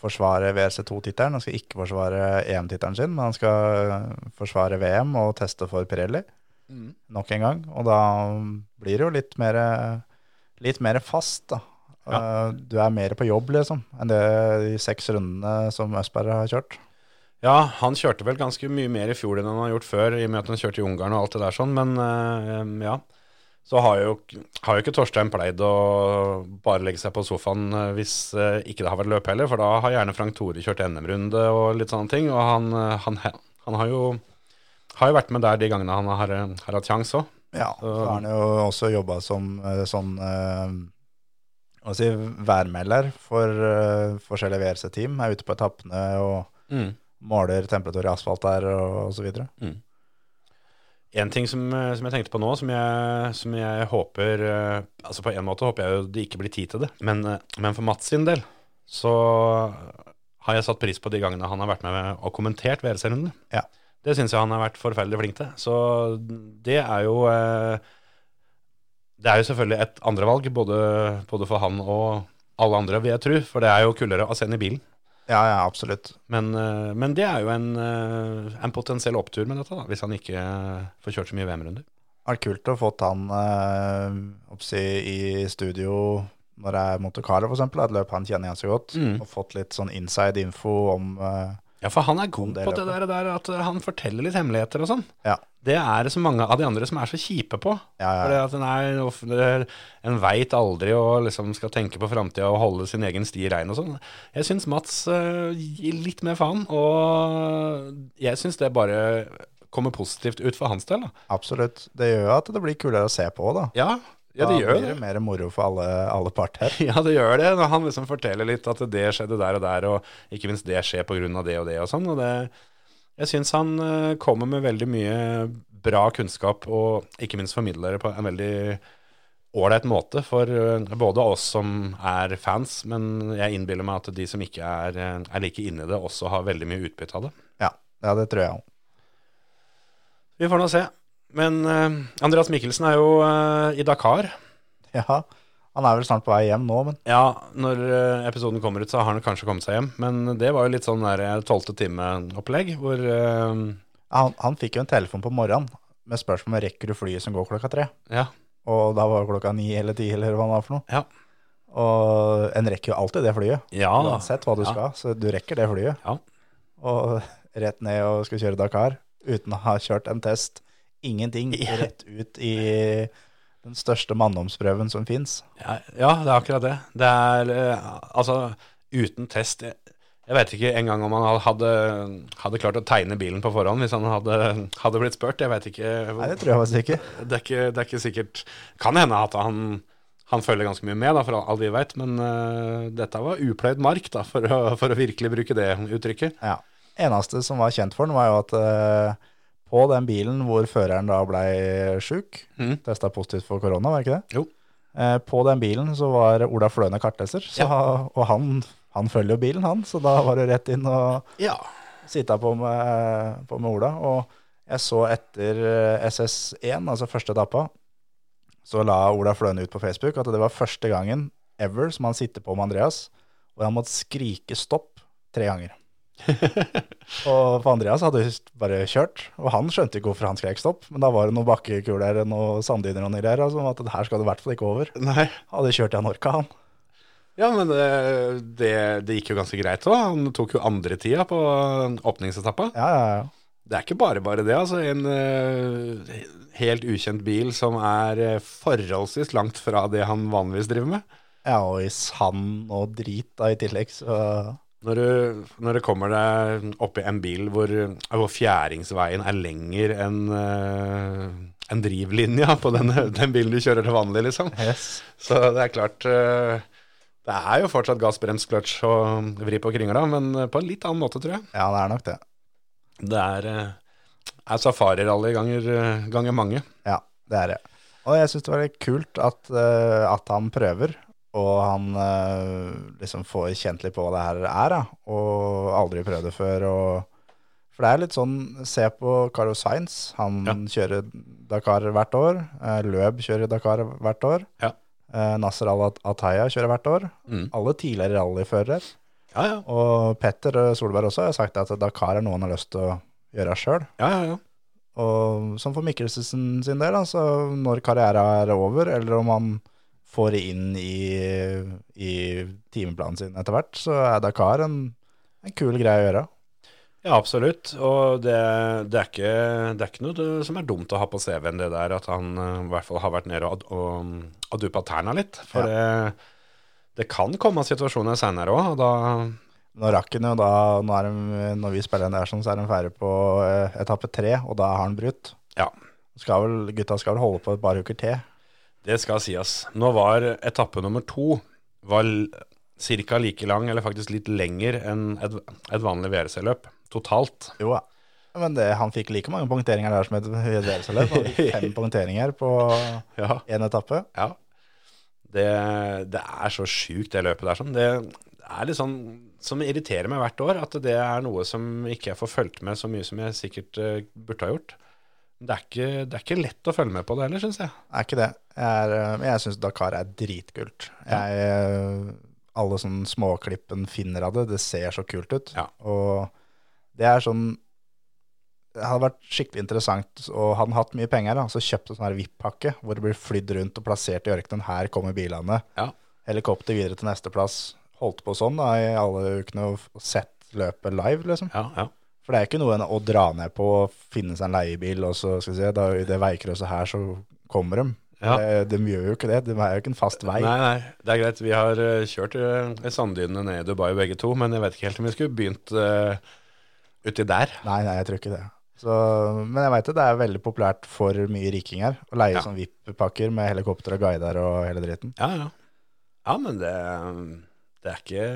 [SPEAKER 5] forsvare WRC2-tittelen. Han skal ikke forsvare EM-tittelen sin, men han skal eh, forsvare VM og teste for Pirelli Mm. nok en gang. Og da blir det jo litt mer, litt mer fast, da. Eh, Du er mer på jobb, liksom, enn det de seks rundene som Østberg har kjørt.
[SPEAKER 1] Ja, han kjørte vel ganske mye mer i fjor enn han har gjort før, i og med at han kjørte i Ungarn og alt det der sånn, men eh, ja. Så har jo, har jo ikke Torstein pleid å bare legge seg på sofaen eh, hvis eh, ikke det har vært løp heller, for da har gjerne Frank Tore kjørt NM-runde og litt sånne ting, og han, eh, han, han har, jo, har jo vært med der de gangene han har, eh, har hatt sjans òg.
[SPEAKER 5] Ja, så har han jo også jobba som eh, sånn eh, hva skal jeg si, værmelder for eh, forskjellige VRC-team. Er ute på etappene og måler temperatur i asfalt der og, og så videre.
[SPEAKER 1] En ting som, eh, som jeg tenkte på nå, som jeg, som jeg håper eh, Altså på en måte håper jeg jo det ikke blir tid til det, men, eh, men for Mats sin del så har jeg satt pris på de gangene han har vært med og kommentert VLC-rundene.
[SPEAKER 5] Ja.
[SPEAKER 1] Det syns jeg han har vært forferdelig flink til. Så det er jo eh, Det er jo selvfølgelig et andrevalg, både, både for han og alle andre, vil jeg tro, for det er jo kuldere å sende i bilen.
[SPEAKER 5] Ja, ja, absolutt.
[SPEAKER 1] Men, eh, men det er jo en, eh, en potensiell opptur med dette, da, hvis han ikke eh, får kjørt så mye VM-runder.
[SPEAKER 5] Det var kult å få han eh, oppsi, i studio når det er Monte Carlo, for eksempel, et løp han kjenner igjen så godt,
[SPEAKER 1] Mm.
[SPEAKER 5] og fått litt sånn inside info om eh,
[SPEAKER 1] Ja, for han er god
[SPEAKER 5] det
[SPEAKER 1] på det der,
[SPEAKER 5] løpet.
[SPEAKER 1] der at eh, han forteller litt hemmeligheter og sånn.
[SPEAKER 5] Ja.
[SPEAKER 1] Det er det så mange av de andre som er så kjipe på.
[SPEAKER 5] Ja, ja,
[SPEAKER 1] Fordi
[SPEAKER 5] ja.
[SPEAKER 1] at en, er, of- det er- en veit aldri og liksom skal tenke på framtida og holde sin egen sti rein og sånn. Jeg syns Mats eh, gir litt mer faen, og jeg syns det bare kommer positivt ut for hans del. Da.
[SPEAKER 5] Absolutt. Det gjør jo at det blir kulere å se på òg, da.
[SPEAKER 1] Ja, ja, det
[SPEAKER 5] da
[SPEAKER 1] gjør
[SPEAKER 5] blir
[SPEAKER 1] det.
[SPEAKER 5] det mer moro for alle, alle parter.
[SPEAKER 1] Ja, det gjør det. Når han liksom forteller litt at det skjedde der og der, og ikke minst det skjer på grunn av det og det og sånn. Og det, jeg syns han eh, kommer med veldig mye bra kunnskap, og ikke minst formidler det på en veldig ålreit måte for eh, både oss som er fans, men jeg innbiller meg at de som ikke er, eh, er like inne i det, også har veldig mye utbytte av det.
[SPEAKER 5] Ja, ja det tror jeg òg.
[SPEAKER 1] Vi får nå se. Men eh, Andreas Mikkelsen er jo eh, i Dakar.
[SPEAKER 5] Ja, han er vel snart på vei hjem nå, men
[SPEAKER 1] Ja, når eh, episoden kommer ut, så har han kanskje kommet seg hjem. Men det var jo litt sånn der tolvte time-opplegg, hvor eh,
[SPEAKER 5] han, han fikk jo en telefon på morgenen med spørsmål om rekker du flyet som går klokka tre.
[SPEAKER 1] Ja.
[SPEAKER 5] Og da var det klokka ni eller ti eller hva det var for noe.
[SPEAKER 1] Ja.
[SPEAKER 5] Og en rekker jo alltid det flyet,
[SPEAKER 1] Ja, da.
[SPEAKER 5] uansett hva du
[SPEAKER 1] Ah, Ja.
[SPEAKER 5] skal. Så du rekker det flyet.
[SPEAKER 1] Ja.
[SPEAKER 5] Og rett ned og skal kjøre Dakar uten å ha kjørt en test. Ingenting. Rett ut i den største manndomsprøven som fins.
[SPEAKER 1] ja, ja, det er akkurat det. Det er eh, altså uten test Jeg, jeg veit ikke engang om han hadde, hadde klart å tegne bilen på forhånd hvis han hadde, hadde blitt spurt. Jeg veit ikke.
[SPEAKER 5] Nei, det tror jeg faktisk ikke.
[SPEAKER 1] det, er ikke, det er ikke sikkert Kan hende at han, han følger ganske mye med, da, for all vi veit, men eh, dette var upløyd mark, da, for å, for å virkelig bruke det uttrykket.
[SPEAKER 5] Ja. Eneste som var kjent for den, var jo at eh, på den bilen hvor føreren da blei sjuk,
[SPEAKER 1] Mhm.
[SPEAKER 5] testa positivt for korona, var det ikke det?
[SPEAKER 1] Jo.
[SPEAKER 5] Eh, på den bilen så var Ola Fløne kartleser, så, og han, han følger jo bilen, han, så da var det rett inn og
[SPEAKER 1] Ja.
[SPEAKER 5] sitte på med, på med Ola. Og jeg så etter eh, SS1, altså første etappa, så la Ola Fløne ut på Facebook at det var første gangen ever som han sitter på med Andreas, og han måtte skrike stopp tre ganger. Og for Andreas hadde just bare kjørt, og han skjønte ikke hvorfor han skrek stopp, men da var det noen bakkekuler og noen sanddyner og noe greier, altså, at det her skal du i hvert fall ikke over.
[SPEAKER 1] Nei.
[SPEAKER 5] Hadde kjørt til Anorka, han.
[SPEAKER 1] Ja, men det, det, det gikk jo ganske greit òg. Han tok jo andre tida på åpningsetappa.
[SPEAKER 5] Ja, ja, ja.
[SPEAKER 1] Det er ikke bare bare det, altså. En eh, helt ukjent bil som er eh, forholdsvis langt fra det han vanligvis driver med.
[SPEAKER 5] Ja, og i sand og drit da i tillegg, så
[SPEAKER 1] Når du, når du kommer deg oppi en bil hvor, hvor fjæringsveien er lenger enn eh, enn drivlinja på den, den bilen du kjører til vanlig, liksom.
[SPEAKER 5] yes.
[SPEAKER 1] Så det er klart eh, Det er jo fortsatt gass, brems, kløtsj og vri på kringla, men på en litt annen måte, tror jeg.
[SPEAKER 5] Ja, det er nok det.
[SPEAKER 1] Det er, eh, er safarirally ganger, eh, ganger mange.
[SPEAKER 5] Ja, det er det. Og jeg syns det var litt kult at, eh, at han prøver, og han eh, liksom får kjent litt på hva det her er, da. og aldri prøvd det før. Og for det er litt sånn, se på Carlos Sainz. Han
[SPEAKER 1] Ja.
[SPEAKER 5] kjører Dakar hvert år. eh, Løb kjører Dakar hvert år.
[SPEAKER 1] Ja.
[SPEAKER 5] eh, Nasser Al-Ataya kjører hvert år.
[SPEAKER 1] Mm.
[SPEAKER 5] Alle tidligere rallyførere.
[SPEAKER 1] Ja, ja.
[SPEAKER 5] Og Petter eh, Solberg også har sagt at Dakar er noe han har lyst til å gjøre sjøl.
[SPEAKER 1] ja, ja, ja.
[SPEAKER 5] Og som for Mikkelsen sin del, altså når karriera er over, eller om han får det inn i, i timeplanen sin etter hvert, så er Dakar en, en kul greie å gjøre.
[SPEAKER 1] Ja, absolutt. Og det, det, er ikke, det er ikke noe det- som er dumt å ha på CV-en, det der at han eh, i hvert fall har vært nede og, ad- og, og duppa tærne litt. For det, det kan komme situasjoner seinere òg, og da
[SPEAKER 5] Nå rakk han jo da, nå er de, når vi spiller den der sånn, så er de ferdig på eh, etappe tre, og da har han brutt.
[SPEAKER 1] Ja.
[SPEAKER 5] Skal vel, gutta skal vel holde på et par uker til.
[SPEAKER 1] Det skal sies. Nå var etappe nummer to var ca. like lang, eller faktisk litt lenger, enn et, et vanlig VRC-løp totalt.
[SPEAKER 5] Jo da. Men det, han fikk like mange punkteringer der som et VDS-løp. Han fikk fem punkteringer på
[SPEAKER 1] Ja.
[SPEAKER 5] én etappe.
[SPEAKER 1] Ja. Det, det er så sjukt, det løpet der. Sånn. Det er litt sånn som irriterer meg hvert år, at det er noe som ikke jeg får fulgt med så mye som jeg sikkert eh, burde ha gjort. Det er, ikke, det er ikke lett å følge med på det heller, syns jeg.
[SPEAKER 5] Er ikke det. Jeg er, øh, men jeg syns Dakar er dritkult. Jeg, øh, alle sånne småklippen finner av det. Det ser så kult ut.
[SPEAKER 1] Ja.
[SPEAKER 5] Og det er sånn Det hadde vært skikkelig interessant, og hadde han hatt mye penger, da, så kjøpte sånn her VIP-pakke hvor det blir flydd rundt og plassert i ørkenen. Her kommer bilene.
[SPEAKER 1] Ja.
[SPEAKER 5] Helikopter videre til neste plass. Holdt på sånn da i alle ukene og f- og sett løpet live, liksom.
[SPEAKER 1] Ja, ja.
[SPEAKER 5] For det er ikke noe enn å dra ned på, finne seg en leiebil, og så skal vi se, da, i det veikrysset her så kommer de.
[SPEAKER 1] Ja.
[SPEAKER 5] Eh, De gjør jo ikke det, de er jo ikke en fast vei.
[SPEAKER 1] Nei, nei, det er greit. Vi har eh, kjørt eh, i sanddynene ned i Dubai begge to, men jeg vet ikke helt om vi skulle begynt eh, uti der.
[SPEAKER 5] Nei, nei, jeg tror ikke det. Så, men jeg veit det, det er veldig populært for mye rikinger å leie
[SPEAKER 1] Ja.
[SPEAKER 5] sånn VIP-pakker med helikopter og guider og hele dritten.
[SPEAKER 1] Ja, ja. Ja, men det, det, er ikke,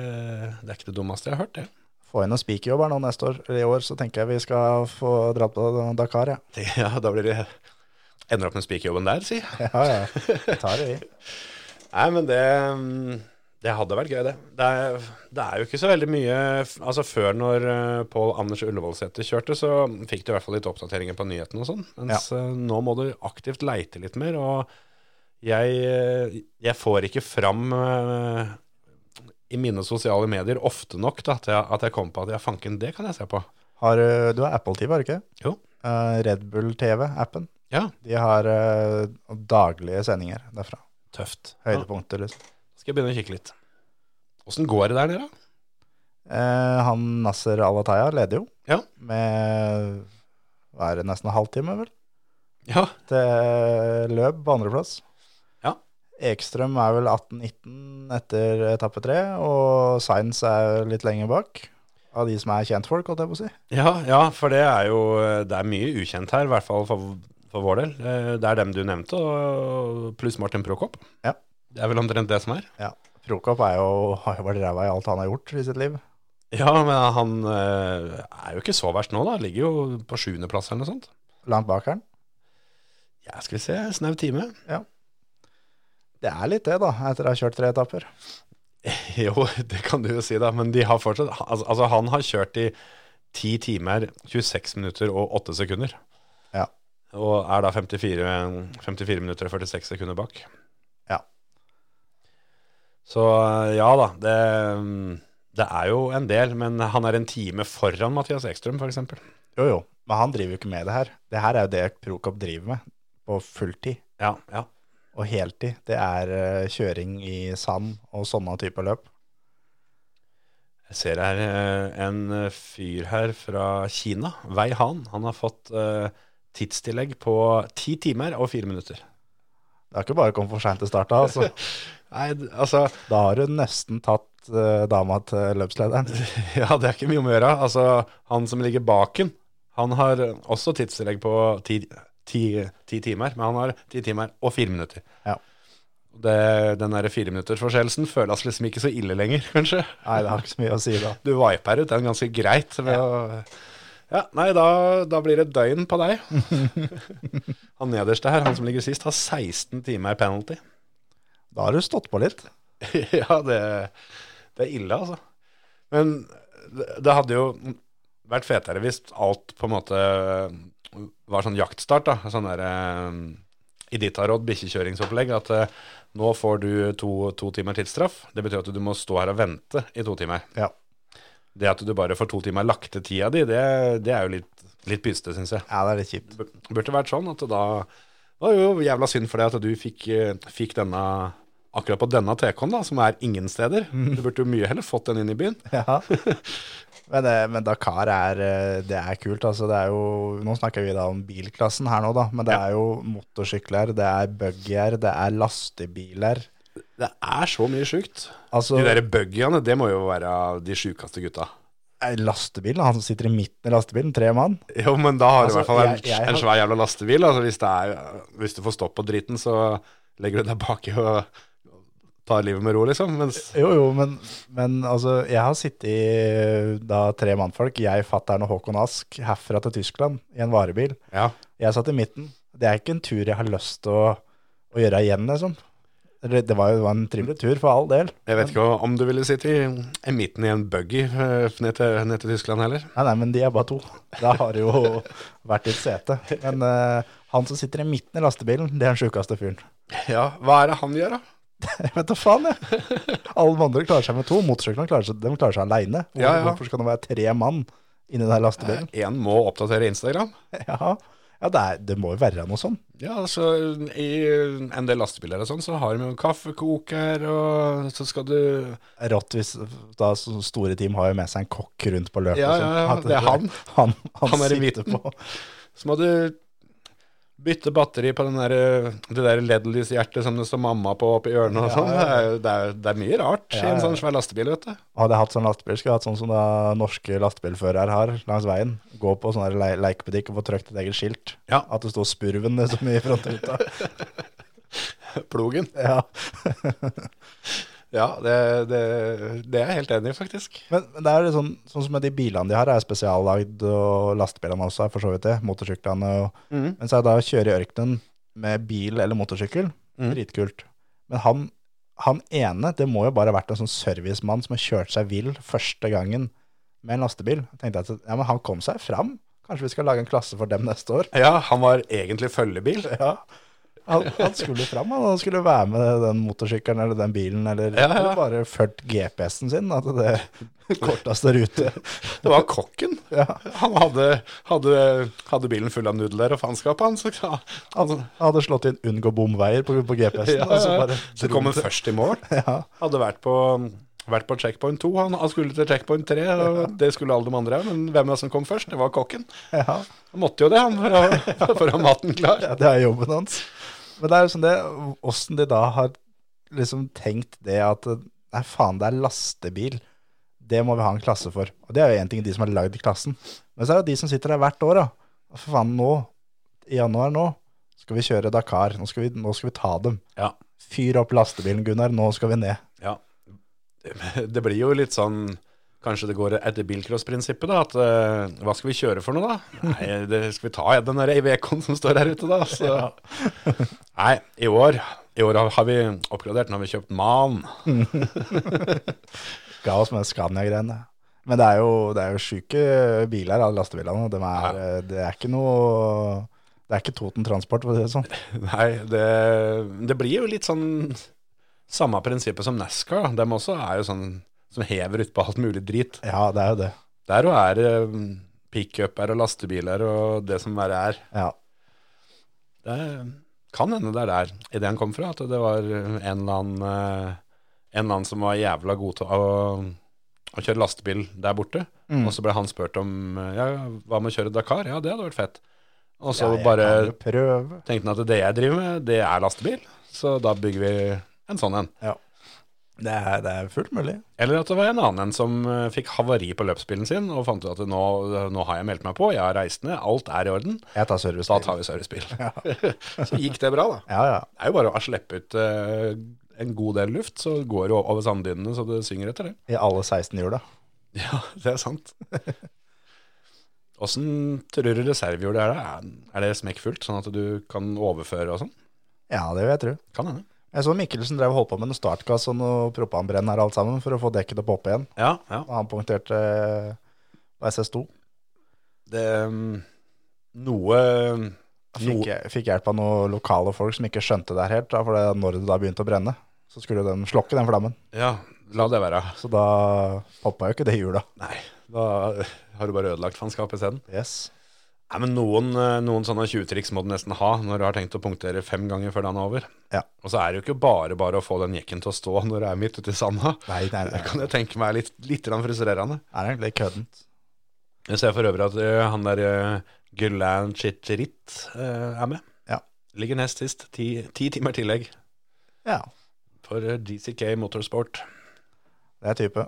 [SPEAKER 1] det er ikke det dummeste jeg har hørt, det.
[SPEAKER 5] Få inn noen spikerjobber nå neste år, eller i år, så tenker jeg vi skal få dratt på Dakar, ja.
[SPEAKER 1] Ja, da blir det Ender opp med spikerjobben der, si.
[SPEAKER 5] Ja, ja. Vi tar det, vi.
[SPEAKER 1] Nei, men det mm, Det hadde vært gøy, det. Det er, det er jo ikke så veldig mye Altså, før når eh, Pål Anders Ullevålsæter kjørte, så fikk du i hvert fall litt oppdateringer på nyhetene og sånn. Mens eh, nå må du aktivt leite litt mer, og jeg, eh, jeg får ikke fram eh, i mine sosiale medier ofte nok da, at, jeg, at jeg kom på at ja, fanken, det kan jeg se på.
[SPEAKER 5] Har, du- du har Apple-TV, har du ikke?
[SPEAKER 1] Jo.
[SPEAKER 5] Eh, Red Bull TV-appen.
[SPEAKER 1] Ja,
[SPEAKER 5] De har eh, daglige sendinger derfra.
[SPEAKER 1] tøft. Ja,
[SPEAKER 5] Høydepunkter, liksom.
[SPEAKER 1] skal jeg begynne å kikke litt. Åssen går det der nede, da?
[SPEAKER 5] Eh, han Nasser Alataya leder jo
[SPEAKER 1] Ja.
[SPEAKER 5] med hva er det, nesten en halvtime, vel?
[SPEAKER 1] Ja,
[SPEAKER 5] Til løp på andreplass.
[SPEAKER 1] Ja.
[SPEAKER 5] Ekstrøm er vel 18-19 etter etappe tre, og Sainz er litt lenger bak. Av de som er kjentfolk, holdt jeg på å si.
[SPEAKER 1] Ja, ja, for det er jo eh, det er mye ukjent her, i hvert fall for, for vår del. Eh, Det er dem du nevnte, og pluss Martin Prokop.
[SPEAKER 5] Ja.
[SPEAKER 1] Det er vel omtrent det som er.
[SPEAKER 5] Ja. Prokop er jo, har jo vært ræva i alt han har gjort i sitt liv.
[SPEAKER 1] Ja, men han eh, er jo ikke så verst nå, da. Ligger jo på sjuendeplass eller noe sånt.
[SPEAKER 5] Langt bak her.
[SPEAKER 1] Ja, skal vi se, snau time.
[SPEAKER 5] Det er litt det, da, etter å ha kjørt tre etapper.
[SPEAKER 1] Jo, det kan du jo si, da, men de har fortsatt Altså, altså han har kjørt i 10 timer, 26 minutter og 8 sekunder.
[SPEAKER 5] Ja.
[SPEAKER 1] Og er da 54, 54 minutter og 46 sekunder bak.
[SPEAKER 5] Ja.
[SPEAKER 1] Så eh, ja da, det, mm, det er jo en del, men han er en time foran Mathias Ekstrøm, f.eks.
[SPEAKER 5] Jo, jo, men han driver jo ikke med det her. Det her er jo det Prokop driver med på fulltid
[SPEAKER 1] Ja, ja.
[SPEAKER 5] og heltid. Det er eh, kjøring i sand og sånne typer løp.
[SPEAKER 1] Jeg ser her eh, en fyr her fra Kina, Wei Han. Han har fått eh, tidstillegg på ti timer og fire minutter.
[SPEAKER 5] Det er ikke bare å komme for seint til start, da. Altså.
[SPEAKER 1] Nei, d- altså
[SPEAKER 5] Da har du nesten tatt eh, dama til løpslederen.
[SPEAKER 1] Ja, det er ikke mye om å gjøre. Altså, han som ligger baken, han har også tidstillegg på ti, ti, ti timer, men han har ti timer og fire minutter.
[SPEAKER 5] Ja.
[SPEAKER 1] Det, den der fireminuttersforskjellelsen føles liksom ikke så ille lenger, kanskje.
[SPEAKER 5] Nei, det har ikke så mye å si da.
[SPEAKER 1] Du viper ut den ganske greit ved å Ja, nei, da, da blir det døgn på deg. han nederste her, han som ligger sist, har 16 timer penalty.
[SPEAKER 5] Da har du stått på litt.
[SPEAKER 1] ja, det, det er ille, altså. Men det, det hadde jo vært fetere hvis alt på en måte var sånn jaktstart, da. Sånn der eh, Iditarod bikkjekjøringsopplegg. At eh, nå får du to, to timer tidsstraff. Det betyr at du må stå her og vente i to timer.
[SPEAKER 5] Ja.
[SPEAKER 1] Det at du bare får to timer lagt til tida di, det, det er jo litt, litt pyste, syns jeg.
[SPEAKER 5] Ja, det er litt kjipt.
[SPEAKER 1] Bur- burde vært sånn at da det var jo jævla synd for deg at du fikk, eh, fikk denne Akkurat på denne TK-en, da, som er ingen steder. Du burde jo mye heller fått den inn i byen.
[SPEAKER 5] Ja. Men, eh, men Dakar er, eh, det er kult. Altså, det er jo, nå snakker vi da om bilklassen her nå, da. Men det er jo motorsykler, det er buggier, det er lastebiler.
[SPEAKER 1] Det er så mye sjukt.
[SPEAKER 5] Altså,
[SPEAKER 1] De der buggyene, det må jo være de sjukeste gutta.
[SPEAKER 5] eh, lastebil, han som sitter i midten i lastebilen, tre mann.
[SPEAKER 1] Jo, men da har du i
[SPEAKER 5] Altså,
[SPEAKER 1] hvert fall en,
[SPEAKER 5] jeg- jeg har-
[SPEAKER 1] en svær jævla lastebil. Altså, hvis, det er, hvis du får stopp på driten, så legger du deg baki og tar livet med ro, liksom. Mens
[SPEAKER 5] Jo, jo, men, men altså, jeg har sittet i eh, da tre mannfolk, jeg, fattern og Håkon Ask, herfra til Tyskland, i en varebil.
[SPEAKER 1] ja,
[SPEAKER 5] Jeg satt i midten. Det er ikke en tur jeg har lyst til å, å gjøre igjen, liksom. Eller, Det var jo det var en trivelig tur, for all del.
[SPEAKER 1] jeg vet ikke om du ville sitte i, i midten i en buggy eh, ned til, ned til Tyskland heller.
[SPEAKER 5] Nei, nei, men de er bare to. Da har det jo vært et sete. Men eh, han som sitter i midten i lastebilen, det er den sjukeste fyren.
[SPEAKER 1] Ja, hva er det han gjør, da?
[SPEAKER 5] Jeg vet da faen, jeg. Alle de andre klarer seg med to. Motorsyklene klarer seg, de klarer seg aleine. Hvor,
[SPEAKER 1] Ja, ja.
[SPEAKER 5] Hvorfor skal det være tre mann inni den her lastebilen?
[SPEAKER 1] Én må oppdatere Instagram.
[SPEAKER 5] Ja, ja det, er, det må jo være noe sånn.
[SPEAKER 1] Ja, altså i en del lastebiler og sånn, så har de jo kaffekoker, og så skal du
[SPEAKER 5] Rått hvis da så store team har jo med seg en kokk rundt på løpet.
[SPEAKER 1] Ja, ja,
[SPEAKER 5] og sånn.
[SPEAKER 1] ja,
[SPEAKER 5] At
[SPEAKER 1] det er han.
[SPEAKER 5] Han, han,
[SPEAKER 1] Han er i
[SPEAKER 5] sitter
[SPEAKER 1] midten.
[SPEAKER 5] på.
[SPEAKER 1] Så må du bytte batteri på den der, eh, det der LED-lyshjertet som det står mamma på oppi hjørnet og
[SPEAKER 5] Ja,
[SPEAKER 1] sånn.
[SPEAKER 5] ja.
[SPEAKER 1] Det, er jo- det, er- det er mye rart
[SPEAKER 5] Ja,
[SPEAKER 1] i en
[SPEAKER 5] ja.
[SPEAKER 1] sånn svær lastebil, vet du.
[SPEAKER 5] Hadde jeg hatt sånn lastebil, skulle jeg hatt sånn som da norske lastebilførere har langs veien. Gå på sånn her le lekebutikk og få trykt et eget skilt.
[SPEAKER 1] Ja.
[SPEAKER 5] At det sto 'Spurven' liksom i frontruta.
[SPEAKER 1] Plogen.
[SPEAKER 5] ja.
[SPEAKER 1] Ja, det, det, det er jeg helt enig i, faktisk.
[SPEAKER 5] Men, men det er jo litt sånn, sånn som med de bilene de har, er spesiallagd, og lastebilene også er for så vidt det. Motorsyklene og
[SPEAKER 1] Mm.
[SPEAKER 5] Men så er det da å kjøre i ørkenen med bil eller motorsykkel.
[SPEAKER 1] Mm.
[SPEAKER 5] Dritkult. Men han, han ene, det må jo bare ha vært en sånn servicemann som har kjørt seg vill første gangen med en lastebil. Jeg tenkte at ja, men han kom seg fram. Kanskje vi skal lage en klasse for dem neste år.
[SPEAKER 1] Ja, han var egentlig følgebil.
[SPEAKER 5] Ja. Han, han skulle fram, han. han skulle være med den motorsykkelen eller den bilen, eller,
[SPEAKER 1] Ja, ja.
[SPEAKER 5] eller bare ført GPS-en sin, at det korteste rute.
[SPEAKER 1] Det var kokken.
[SPEAKER 5] Ja.
[SPEAKER 1] Han hadde, hadde, hadde bilen full av nudler og faenskap, han. Så, han,
[SPEAKER 5] Han hadde slått inn 'unngå bomveier' på, på GPS-en.
[SPEAKER 1] ja,
[SPEAKER 5] og så
[SPEAKER 1] ja.
[SPEAKER 5] bare
[SPEAKER 1] så kom han først i mål.
[SPEAKER 5] Ja.
[SPEAKER 1] Hadde vært på, vært på checkpoint 2, han, han skulle til checkpoint 3, og det skulle alle de andre òg, men hvem er det som kom først? Det var kokken.
[SPEAKER 5] Ja.
[SPEAKER 1] Han måtte jo det, han, for å, for å ha maten klar.
[SPEAKER 5] Ja, det er jobben hans. Men det er jo sånn det, åssen de da har liksom tenkt det at nei, faen, det er lastebil. Det må vi ha en klasse for. Og det er jo én ting de som har lagd klassen. Men så er det de som sitter der hvert år, da. Og For faen, nå, i januar nå, skal vi kjøre Dakar. Nå skal vi, nå skal vi ta dem.
[SPEAKER 1] Ja.
[SPEAKER 5] Fyr opp lastebilen, Gunnar. Nå skal vi ned.
[SPEAKER 1] Ja. Det blir jo litt sånn Kanskje det går etter bilcross-prinsippet, da. At eh, hva skal vi kjøre for noe, da? Nei, det skal vi ta den der Ivecoen som står her ute, da. Så. Nei, i år, i år har vi oppgradert. Nå har vi kjøpt Man.
[SPEAKER 5] Ga oss med Scania-greiene. Men det er jo, det er jo sjuke biler, alle lastebilene. De er, eh, Det er ikke noe Det er ikke Toten Transport, for å si det sånn.
[SPEAKER 1] Nei, det, det blir jo litt sånn samme prinsippet som NASCAR. da. Dem også er jo sånn som hever utpå alt mulig drit.
[SPEAKER 5] Ja, det er jo det.
[SPEAKER 1] Der òg er det pickuper og lastebiler og det som verre er.
[SPEAKER 5] Ja.
[SPEAKER 1] Det kan hende det er der ideen kom fra, at det var en eller annen, eh, en eller annen som var jævla god til å, å kjøre lastebil der borte.
[SPEAKER 5] Mm.
[SPEAKER 1] Og så ble han spurt om eh, ja, hva med å kjøre Dakar? Ja, det hadde vært fett. Og så
[SPEAKER 5] Ja, jeg
[SPEAKER 1] bare
[SPEAKER 5] kan jo prøve.
[SPEAKER 1] tenkte han at det jeg driver med, det er lastebil, så da bygger vi en sånn en.
[SPEAKER 5] Ja. Det er, det er fullt mulig.
[SPEAKER 1] Eller at det var en annen en som eh, fikk havari på løpsbilen sin og fant ut at nå, nå har jeg meldt meg på, jeg har reist ned, alt er i orden,
[SPEAKER 5] Jeg tar
[SPEAKER 1] da
[SPEAKER 5] servicebil.
[SPEAKER 1] tar vi servicebil. så gikk det bra, da.
[SPEAKER 5] Ja, ja.
[SPEAKER 1] Det er jo bare å slippe ut eh, en god del luft, så går det over sanddynene så det synger etter det.
[SPEAKER 5] I alle 16 hjula.
[SPEAKER 1] Ja, det er sant. Åssen tror du reservehjulet er det? Er- Er det smekkfullt, sånn at du kan overføre og sånn?
[SPEAKER 5] Ja, det vil jeg tro.
[SPEAKER 1] Kan hende.
[SPEAKER 5] Jeg så Mikkelsen drev og holdt på med noen startgass og noe propanbrenn her alt sammen for å få dekket opp opp igjen.
[SPEAKER 1] Ja, ja.
[SPEAKER 5] Og han punkterte eh, på SS2.
[SPEAKER 1] Det mm, Noe
[SPEAKER 5] Fikk,
[SPEAKER 1] noe-
[SPEAKER 5] fikk hjelp av noen lokale folk som ikke skjønte det her helt, da, for det, når det da begynte å brenne, så skulle den slokke den flammen.
[SPEAKER 1] Ja, la det være.
[SPEAKER 5] Så da poppa jo ikke det hjula.
[SPEAKER 1] Nei, da har du bare ødelagt fanskapet isteden.
[SPEAKER 5] Yes.
[SPEAKER 1] Nei, men noen, eh, noen sånne 20-triks må du nesten ha når du har tenkt å punktere fem ganger før dagen er over.
[SPEAKER 5] Ja.
[SPEAKER 1] Og så er det jo ikke bare bare å få den jekken til å stå når du er midt ute i sanda.
[SPEAKER 5] Nei, nei, nei.
[SPEAKER 1] Det kan jeg tenke meg er litt, litt grann frustrerende.
[SPEAKER 5] Er det egentlig køddent?
[SPEAKER 1] Jeg ser for øvrig at eh, han der uh, Gulan Chitrit er med.
[SPEAKER 5] Ja.
[SPEAKER 1] Ligger nest sist. Ti, ti timer tillegg
[SPEAKER 5] Ja,
[SPEAKER 1] for eh, DCK Motorsport.
[SPEAKER 5] det er type.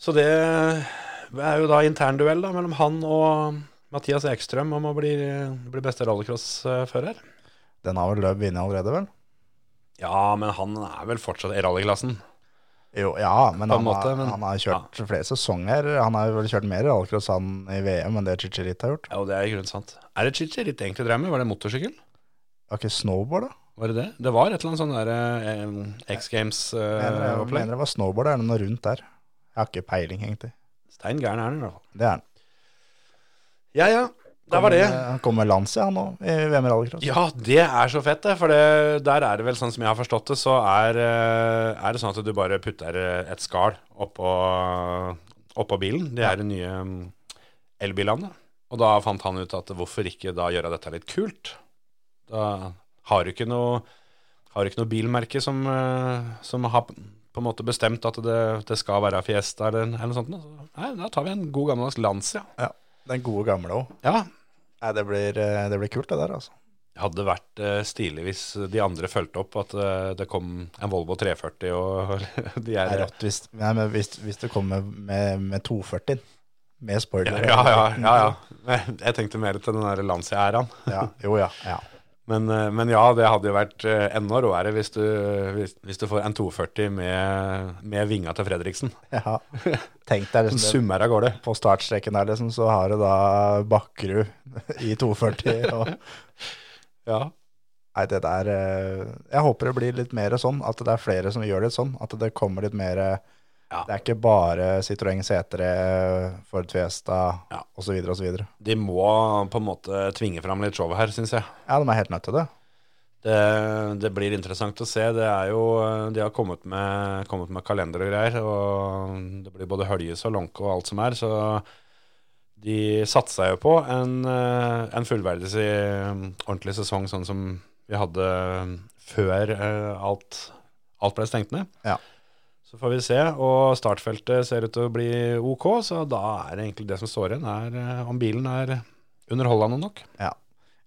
[SPEAKER 1] Så det er jo da internduell da, mellom han og Mathias Ekstrøm om å bli, bli beste rallycrossfører.
[SPEAKER 5] Den har vel løp vunnet allerede, vel?
[SPEAKER 1] Ja, men han er vel fortsatt i rallyklassen.
[SPEAKER 5] Jo, ja, men,
[SPEAKER 1] På en
[SPEAKER 5] han,
[SPEAKER 1] måte,
[SPEAKER 5] har,
[SPEAKER 1] men-
[SPEAKER 5] han har kjørt flere sesonger. Han har vel kjørt mer rallycross han i VM enn det Chichirita har gjort.
[SPEAKER 1] Ja, og det er i grunnen sant. Er det Chichirito egentlig drev med? Var det motorsykkel?
[SPEAKER 5] Var ikke snowboard, da?
[SPEAKER 1] Var det det? Det var et eller annet sånn der eh, X
[SPEAKER 5] Mener, jeg
[SPEAKER 1] Games-opplegg.
[SPEAKER 5] mener det var snowboard, er det noe rundt der? Jeg har ikke peiling, egentlig.
[SPEAKER 1] Stein gæren er den i hvert fall.
[SPEAKER 5] Det er han.
[SPEAKER 1] Ja, ja. Der var det.
[SPEAKER 5] Han kom med lands, ja, nå, i VM i rallycross.
[SPEAKER 1] Ja, det er så fett, det. For det, der er det vel sånn som jeg har forstått det, så er, eh, er det sånn at du bare putter eh, et skall oppå, oppå bilen. Det er de nye mm, elbilene. Og da fant han ut at hvorfor ikke da gjøre dette litt kult? Da har du ikke noe, har du ikke noe bilmerke som, eh, som har på en måte bestemt at det, det skal være Fiesta eller, eller noe sånt. nå. Så, Nei, da tar vi en god gammeldags Lancia.
[SPEAKER 5] Ja, Den gode gamle òg.
[SPEAKER 1] Ja,
[SPEAKER 5] Nei, det blir, eh, det blir kult, det der, altså.
[SPEAKER 1] Det hadde vært eh, stilig hvis de andre fulgte opp at eh, det kom en Volvo 340 og de
[SPEAKER 5] Det
[SPEAKER 1] er
[SPEAKER 5] er rått hvis, nei, men hvis, hvis du kommer med, med 240 med
[SPEAKER 1] Ja,
[SPEAKER 5] spoiler.
[SPEAKER 1] ja, ja. ja, ja. Jeg tenkte mer til den der Lancia-æraen.
[SPEAKER 5] ja. Jo, ja. ja.
[SPEAKER 1] Men, eh, men ja, det hadde jo vært eh, enda råere hvis du, hvis, hvis du får en 240 med, med vinga til Fredriksen.
[SPEAKER 5] ja. Tenk deg
[SPEAKER 1] Den
[SPEAKER 5] liksom det.
[SPEAKER 1] summer av gårde.
[SPEAKER 5] På startstreken der liksom, så har du da Bakkerud i 240. Og,
[SPEAKER 1] Ja.
[SPEAKER 5] nei, det der eh, Jeg håper det blir litt mer sånn, at det er flere som gjør det sånn. At det kommer litt mer eh,
[SPEAKER 1] Ja.
[SPEAKER 5] Det er ikke bare Citroën C3, Ford Fiesta
[SPEAKER 1] Ja.
[SPEAKER 5] osv. osv. Ja,
[SPEAKER 1] De må på en måte tvinge fram litt show her, syns jeg.
[SPEAKER 5] de er helt nødt til det.
[SPEAKER 1] Det, det blir interessant å se. Det er jo, de har kommet med, kommet med kalender og greier, og det blir både høljes og lonke og alt som er, så de satsa jo på en, eh, en fullverdig si- ordentlig sesong, sånn som vi hadde før eh, alt, alt ble stengt ned.
[SPEAKER 5] Ja.
[SPEAKER 1] Så får vi se, og startfeltet ser ut til å bli ok, så da er det egentlig det som står igjen, er, eh, om bilen er underholdende nok.
[SPEAKER 5] Ja.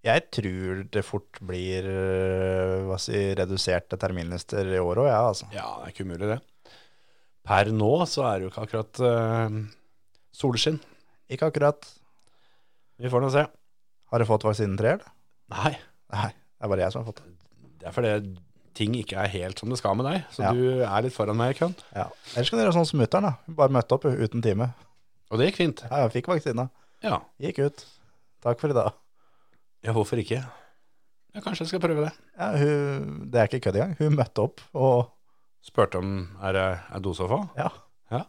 [SPEAKER 5] Jeg tror det fort blir øh, hva si, reduserte terminlister i år òg, ja, altså.
[SPEAKER 1] Ja, det er ikke umulig det. Per nå så er det jo ikke akkurat eh, solskinn.
[SPEAKER 5] Ikke akkurat.
[SPEAKER 1] Vi får nå se.
[SPEAKER 5] Har du fått vaksinen tre, eller?
[SPEAKER 1] Nei,
[SPEAKER 5] Nei, det er bare jeg som har fått det.
[SPEAKER 1] det er fordi ting ikke er helt som det skal med deg, så
[SPEAKER 5] Ja.
[SPEAKER 1] du er litt foran meg i køen.
[SPEAKER 5] Ja. Ellers kan du gjøre sånn som mutter'n, da. Hun Bare møtte opp hun, uten time.
[SPEAKER 1] Og det gikk fint.
[SPEAKER 5] Ja, jeg fikk vaksina.
[SPEAKER 1] Ja,
[SPEAKER 5] Gikk ut. Takk for i dag.
[SPEAKER 1] ja hvorfor ikke? Ja, kanskje jeg skal prøve det.
[SPEAKER 5] Ja, hun, det er ikke kødd engang. Hun møtte opp, og
[SPEAKER 1] Spurte om er det er dosofa?
[SPEAKER 5] ja.
[SPEAKER 1] Ja,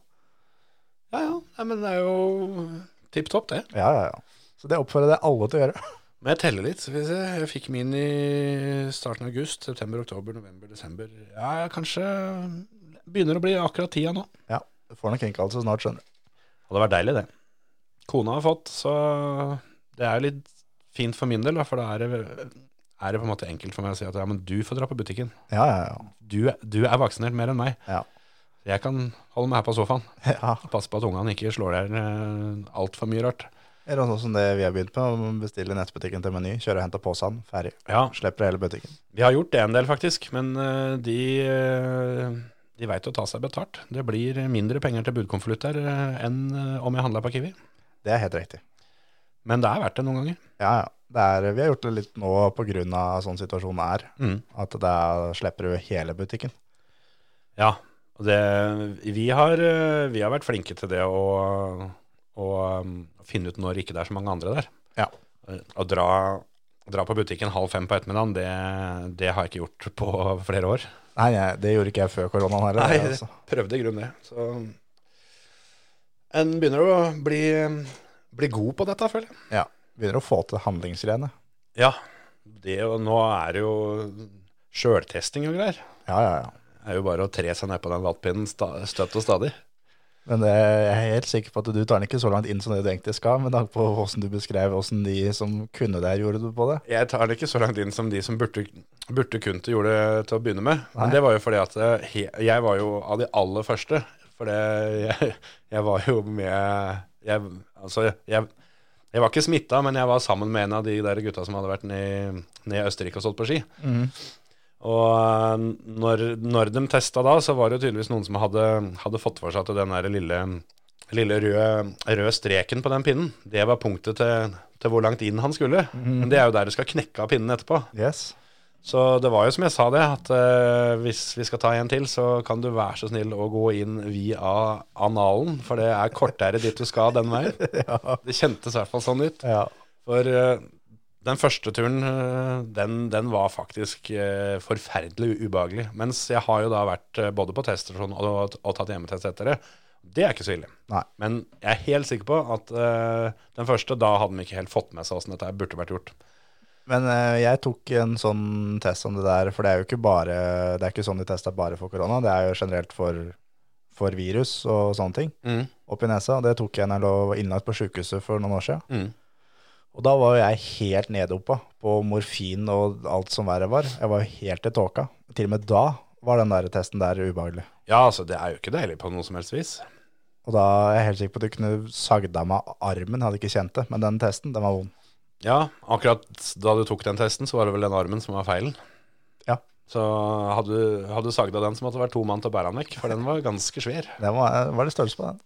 [SPEAKER 1] ja, Nei, men det er jo tipp topp, det.
[SPEAKER 5] Ja, ja, ja. Så det oppfordrer jeg alle til å gjøre.
[SPEAKER 1] Men jeg teller litt. Skal vi se. Jeg fikk min i starten av august. September, oktober, november, desember. Ja, jeg kanskje begynner å bli akkurat tida nå.
[SPEAKER 5] Ja. Du får nok innkallelse snart, skjønner du.
[SPEAKER 1] Og det har vært deilig, det. Kona har fått, så det er litt fint for min del, da, for da er det, er det på en måte enkelt for meg å si at ja, men du får dra på butikken.
[SPEAKER 5] Ja, ja,
[SPEAKER 1] Du, du er vaksinert mer enn meg.
[SPEAKER 5] ja.
[SPEAKER 1] Jeg kan holde meg her på sofaen.
[SPEAKER 5] Ja. ja.
[SPEAKER 1] Passe på at ungene ikke slår deg eh, altfor mye rart.
[SPEAKER 5] Eller sånn som det vi har begynt med, å bestille i nettbutikken til Meny, kjøre og hente posen, ferdig.
[SPEAKER 1] Ja,
[SPEAKER 5] Slipper hele butikken.
[SPEAKER 1] vi har gjort det en del faktisk, men eh, de, eh, de veit å ta seg betalt. Det blir mindre penger til budkonvolutter eh, enn eh, om jeg handler på Kiwi.
[SPEAKER 5] Det er helt riktig.
[SPEAKER 1] Men det er verdt det noen ganger.
[SPEAKER 5] Ja, ja. Det er, vi har gjort det litt nå på grunn av sånn situasjonen er,
[SPEAKER 1] Mm.
[SPEAKER 5] at da slipper du hele butikken.
[SPEAKER 1] Ja, og det, vi, har, eh, vi har vært flinke til det å, å um, finne ut når ikke det er så mange andre der.
[SPEAKER 5] Ja.
[SPEAKER 1] Eh, Å dra, dra på butikken halv fem på ettermiddagen, det, det har jeg ikke gjort på flere år.
[SPEAKER 5] Nei, nei, det gjorde ikke jeg før koronaen heller.
[SPEAKER 1] Nei,
[SPEAKER 5] det,
[SPEAKER 1] det-
[SPEAKER 5] altså.
[SPEAKER 1] Prøvde i grunnen det. Så en begynner å bli, bli god på dette, føler jeg.
[SPEAKER 5] Ja, begynner å få til handlingsgreiene.
[SPEAKER 1] Ja, det, og nå er det jo sjøltesting og greier.
[SPEAKER 5] Ja, ja, ja.
[SPEAKER 1] Det er jo bare å tre seg ned på den vattpinnen sta- støtt og stadig.
[SPEAKER 5] Men det, jeg er helt sikker på at du tar den ikke så langt inn som det du egentlig skal, med tanke på hvordan du beskrev hvordan de som kunne det her, gjorde det på det.
[SPEAKER 1] Jeg tar det ikke så langt inn som de som burde, burde kunnet gjorde til å begynne med. Men det var jo fordi at eh, he, jeg var jo av de aller første. For det, jeg, jeg var jo med jeg, Altså, jeg, jeg var ikke smitta, men jeg var sammen med en av de der gutta som hadde vært nede i- nede i Østerrike og stått på ski. Og eh, når, når de testa da, så var det jo tydeligvis noen som hadde, hadde fått for seg at den der lille, lille røde, røde streken på den pinnen, det var punktet til, til hvor langt inn han skulle. Men det er jo der du skal knekke av pinnen etterpå.
[SPEAKER 5] Yes.
[SPEAKER 1] Så det var jo som jeg sa det, at eh, hvis vi skal ta en til, så kan du være så snill å gå inn via analen, for det er kortere dit du skal den veien. Det kjentes i hvert fall sånn ut.
[SPEAKER 5] Ja.
[SPEAKER 1] For eh, den første turen, eh, den, den var faktisk eh, forferdelig ubehagelig. Mens jeg har jo da vært eh, både på teststasjon og, og, og tatt hjemmetest etter det. Det er ikke så ille.
[SPEAKER 5] Nei.
[SPEAKER 1] Men jeg er helt sikker på at eh, den første, da hadde de ikke helt fått med seg åssen dette her burde vært gjort.
[SPEAKER 5] Men eh, jeg tok en sånn test om det der, for det er jo ikke bare Det er ikke sånn de tester bare for korona, det er jo generelt for, for virus og sånne ting. Opp i nesa. Det tok jeg når jeg lå innlagt på sjukehuset for noen år siden.
[SPEAKER 1] Mm.
[SPEAKER 5] Og da var jo jeg helt nede oppe på morfin og alt som verre var. Jeg var jo helt i tåka. Til og med da var den der testen der ubehagelig.
[SPEAKER 1] Ja, altså, det er jo ikke deilig på noe som helst vis.
[SPEAKER 5] Og da er jeg helt sikker på at du kunne sagd av meg armen, jeg hadde ikke kjent det. Men den testen, den var vond.
[SPEAKER 1] Ja, akkurat da du tok den testen, så var det vel den armen som var feilen.
[SPEAKER 5] Ja.
[SPEAKER 1] Så hadde du- hadde du sagd av den, så måtte det vært to mann til å bære den vekk, for den var ganske svær.
[SPEAKER 5] Den var, var det størrelse på den?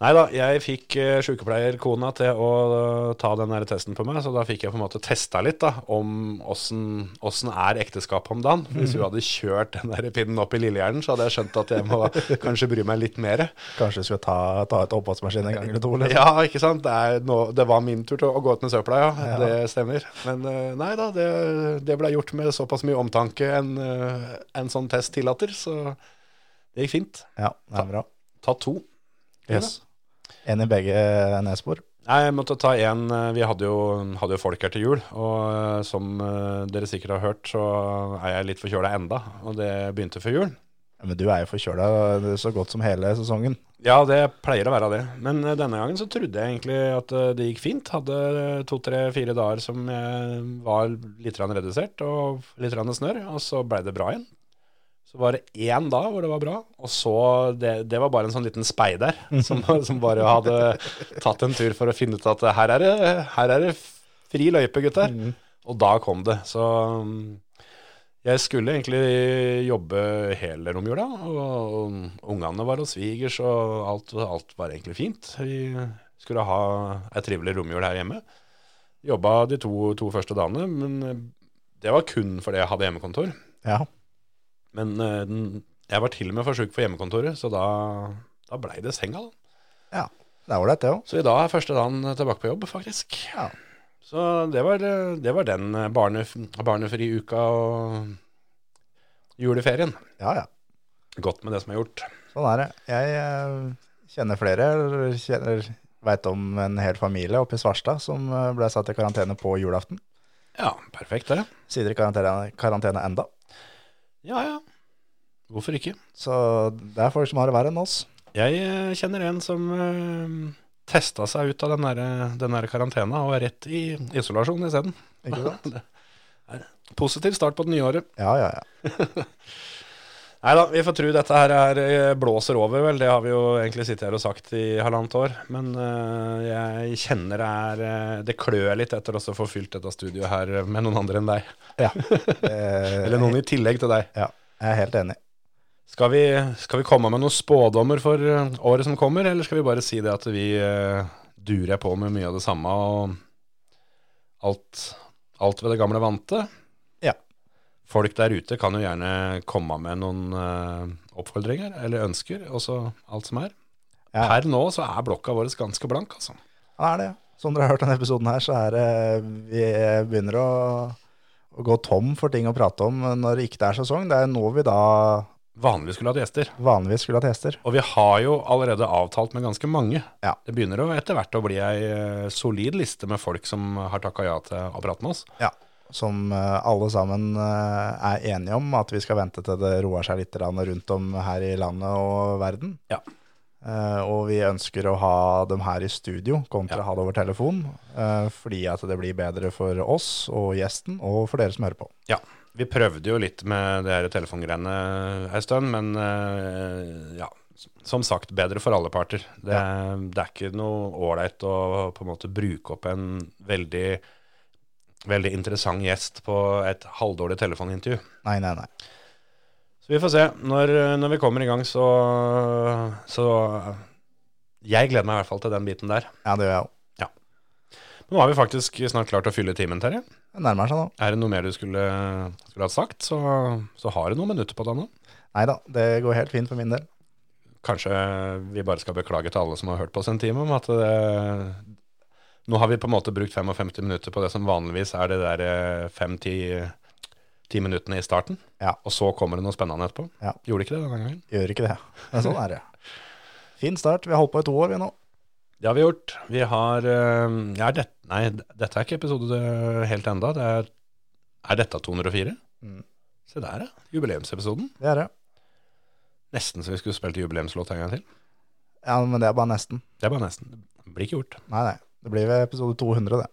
[SPEAKER 1] Nei da, jeg fikk eh, sykepleierkona til å eh, ta den der testen på meg, så da fikk jeg på en måte testa litt da, om åssen åssen er ekteskapet om dagen. Hvis hun hadde kjørt den der pinnen opp i lillehjernen, så hadde jeg skjønt at jeg må kanskje bry meg litt mer.
[SPEAKER 5] Kanskje du skulle ta, ta et oppvaskmaskin en gang eller to? liksom. Eller?
[SPEAKER 1] Ja, ikke sant? Det, er nå, det var min tur til å gå ut med søpla, ja. Det stemmer. Men eh, nei da, det, det ble gjort med såpass mye omtanke en, eh, en sånn test tillater, så det gikk fint.
[SPEAKER 5] Ja, det er bra.
[SPEAKER 1] Ta to.
[SPEAKER 5] Yes. En i begge eh, nesbor.
[SPEAKER 1] Nei, jeg måtte ta en. eh, Vi hadde jo, hadde jo folk her til jul, og eh, som eh, dere sikkert har hørt, så er jeg litt forkjøla enda, og det begynte før jul.
[SPEAKER 5] Ja, Men du er jo forkjøla så godt som hele sesongen.
[SPEAKER 1] Ja, det pleier å være det. Men eh, denne gangen så trodde jeg egentlig at eh, det gikk fint. Hadde eh, to-tre-fire dager som jeg var litt grann redusert og litt grann snørr, og så blei det bra igjen. Så var det én dag hvor det var bra, og så Det, det var bare en sånn liten speider som, som bare hadde tatt en tur for å finne ut at her er det, her er det fri løype, gutter. Og da kom det. Så mm, jeg skulle egentlig jobbe hele romjula, og ungene var hos svigers, og alt, alt var egentlig fint. Vi skulle ha ei trivelig romjul her hjemme. Jobba de to, to første dagene, men eh, det var kun fordi jeg hadde hjemmekontor.
[SPEAKER 5] Ja.
[SPEAKER 1] Men eh, den- jeg var til og med for sjuk for hjemmekontoret, så da, da blei det senga, da.
[SPEAKER 5] ja. Det er ålreit, det òg.
[SPEAKER 1] Så i dag er første dagen tilbake på jobb, faktisk.
[SPEAKER 5] Ja.
[SPEAKER 1] Så det var, det var den barne, barnefri uka og juleferien.
[SPEAKER 5] Ja, ja.
[SPEAKER 1] Godt med det som er gjort.
[SPEAKER 5] Sånn er det. Jeg eh, kjenner flere, eller kjenner, veit om en hel familie oppe i Svarstad som eh, ble satt i karantene på julaften.
[SPEAKER 1] Ja, perfekt det.
[SPEAKER 5] Sitter i karantene, karantene enda.
[SPEAKER 1] Ja, ja. Hvorfor ikke?
[SPEAKER 5] Så det er folk som har det verre enn oss.
[SPEAKER 1] Jeg eh, kjenner en som uh, testa seg ut av den der, den der karantena og er rett i isolasjon isteden.
[SPEAKER 5] Ikke sant?
[SPEAKER 1] Positiv start på det nye året.
[SPEAKER 5] Ja, ja, ja.
[SPEAKER 1] Nei da, vi får tro dette her er, eh, blåser over, vel. Det har vi jo egentlig sittet her og sagt i halvannet år. Men eh, jeg kjenner det er eh, Det klør litt etter også å få fylt dette studioet her med noen andre enn deg.
[SPEAKER 5] ja. Eh,
[SPEAKER 1] Eller noen i tillegg til deg.
[SPEAKER 5] Ja, jeg er helt enig.
[SPEAKER 1] Skal vi, skal vi komme med noen spådommer for eh, året som kommer, eller skal vi bare si det at vi eh, durer på med mye av det samme og alt, alt ved det gamle vante?
[SPEAKER 5] Ja.
[SPEAKER 1] Folk der ute kan jo gjerne komme med noen eh, oppfordringer eller ønsker, også alt som er.
[SPEAKER 5] Ja.
[SPEAKER 1] Per nå så er blokka vår ganske blank, altså.
[SPEAKER 5] Ja, det er det. Som dere har hørt denne episoden her, så er det Vi begynner å, å gå tom for ting å prate om når det ikke er sesong. Det er nå vi da
[SPEAKER 1] Vanligvis skulle hatt gjester,
[SPEAKER 5] vanligvis skulle hatt gjester.
[SPEAKER 1] og vi har jo allerede avtalt med ganske mange.
[SPEAKER 5] Ja.
[SPEAKER 1] Det begynner jo etter hvert å bli ei eh, solid liste med folk som har takka ja til å prate med oss.
[SPEAKER 5] Ja. Som eh, alle sammen eh, er enige om, at vi skal vente til det roer seg litt grann rundt om her i landet og verden.
[SPEAKER 1] Ja.
[SPEAKER 5] Eh, og vi ønsker å ha dem her i studio kontra ha det over telefon, eh, fordi at det blir bedre for oss og gjesten, og for dere som hører på.
[SPEAKER 1] Ja. Vi prøvde jo litt med det her telefongreiene ei stund, men eh, ja. Som sagt, bedre for alle parter. Det, det er ikke noe ålreit å på en måte bruke opp en veldig, veldig interessant gjest på et halvdårlig telefonintervju.
[SPEAKER 5] Nei, nei, nei.
[SPEAKER 1] Så vi får se. Når, når vi kommer i gang, så, så Jeg gleder meg i hvert fall til den biten der.
[SPEAKER 5] Ja, det gjør jeg òg.
[SPEAKER 1] Nå har vi faktisk snart klart å fylle timen, Terje.
[SPEAKER 5] Det nærmer seg nå.
[SPEAKER 1] Er det noe mer du skulle, skulle ha sagt, så, så har du noen minutter på deg nå.
[SPEAKER 5] Nei da, det går helt fint for min del.
[SPEAKER 1] Kanskje vi bare skal beklage til alle som har hørt på oss en time om at det, nå har vi på en måte brukt 55 minutter på det som vanligvis er det der 5-10 minuttene i starten.
[SPEAKER 5] Ja.
[SPEAKER 1] Og så kommer det noe spennende etterpå.
[SPEAKER 5] Ja.
[SPEAKER 1] Gjorde ikke det denne gangen?
[SPEAKER 5] Gjør ikke det. Men sånn er det. Fin start. Vi har holdt på i to år, vi nå.
[SPEAKER 1] Det har vi gjort. Vi har eh, ja, det, Nei, dette er ikke episode helt enda. Det er, er dette 204?
[SPEAKER 5] Mm.
[SPEAKER 1] Se der, ja. Jubileumsepisoden.
[SPEAKER 5] Det er det.
[SPEAKER 1] Nesten så vi skulle spilt jubileumslåt en gang til.
[SPEAKER 5] Ja, men det er bare nesten.
[SPEAKER 1] Det er bare nesten. Det blir ikke gjort.
[SPEAKER 5] Nei, nei. Det blir ved episode 200, det.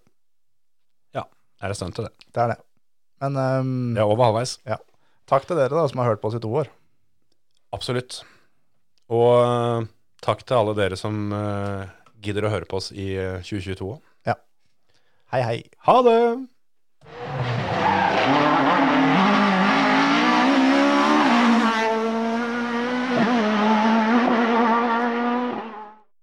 [SPEAKER 1] Det er et stunt til det.
[SPEAKER 5] Det er det. Men ehm,
[SPEAKER 1] Det er over halvveis.
[SPEAKER 5] takk til dere da, som har hørt på oss i to år.
[SPEAKER 1] Absolutt. Og eh, takk til alle dere som eh, gidder å høre på oss i eh, 2022 òg.
[SPEAKER 5] Hei, hei.
[SPEAKER 1] Ha det!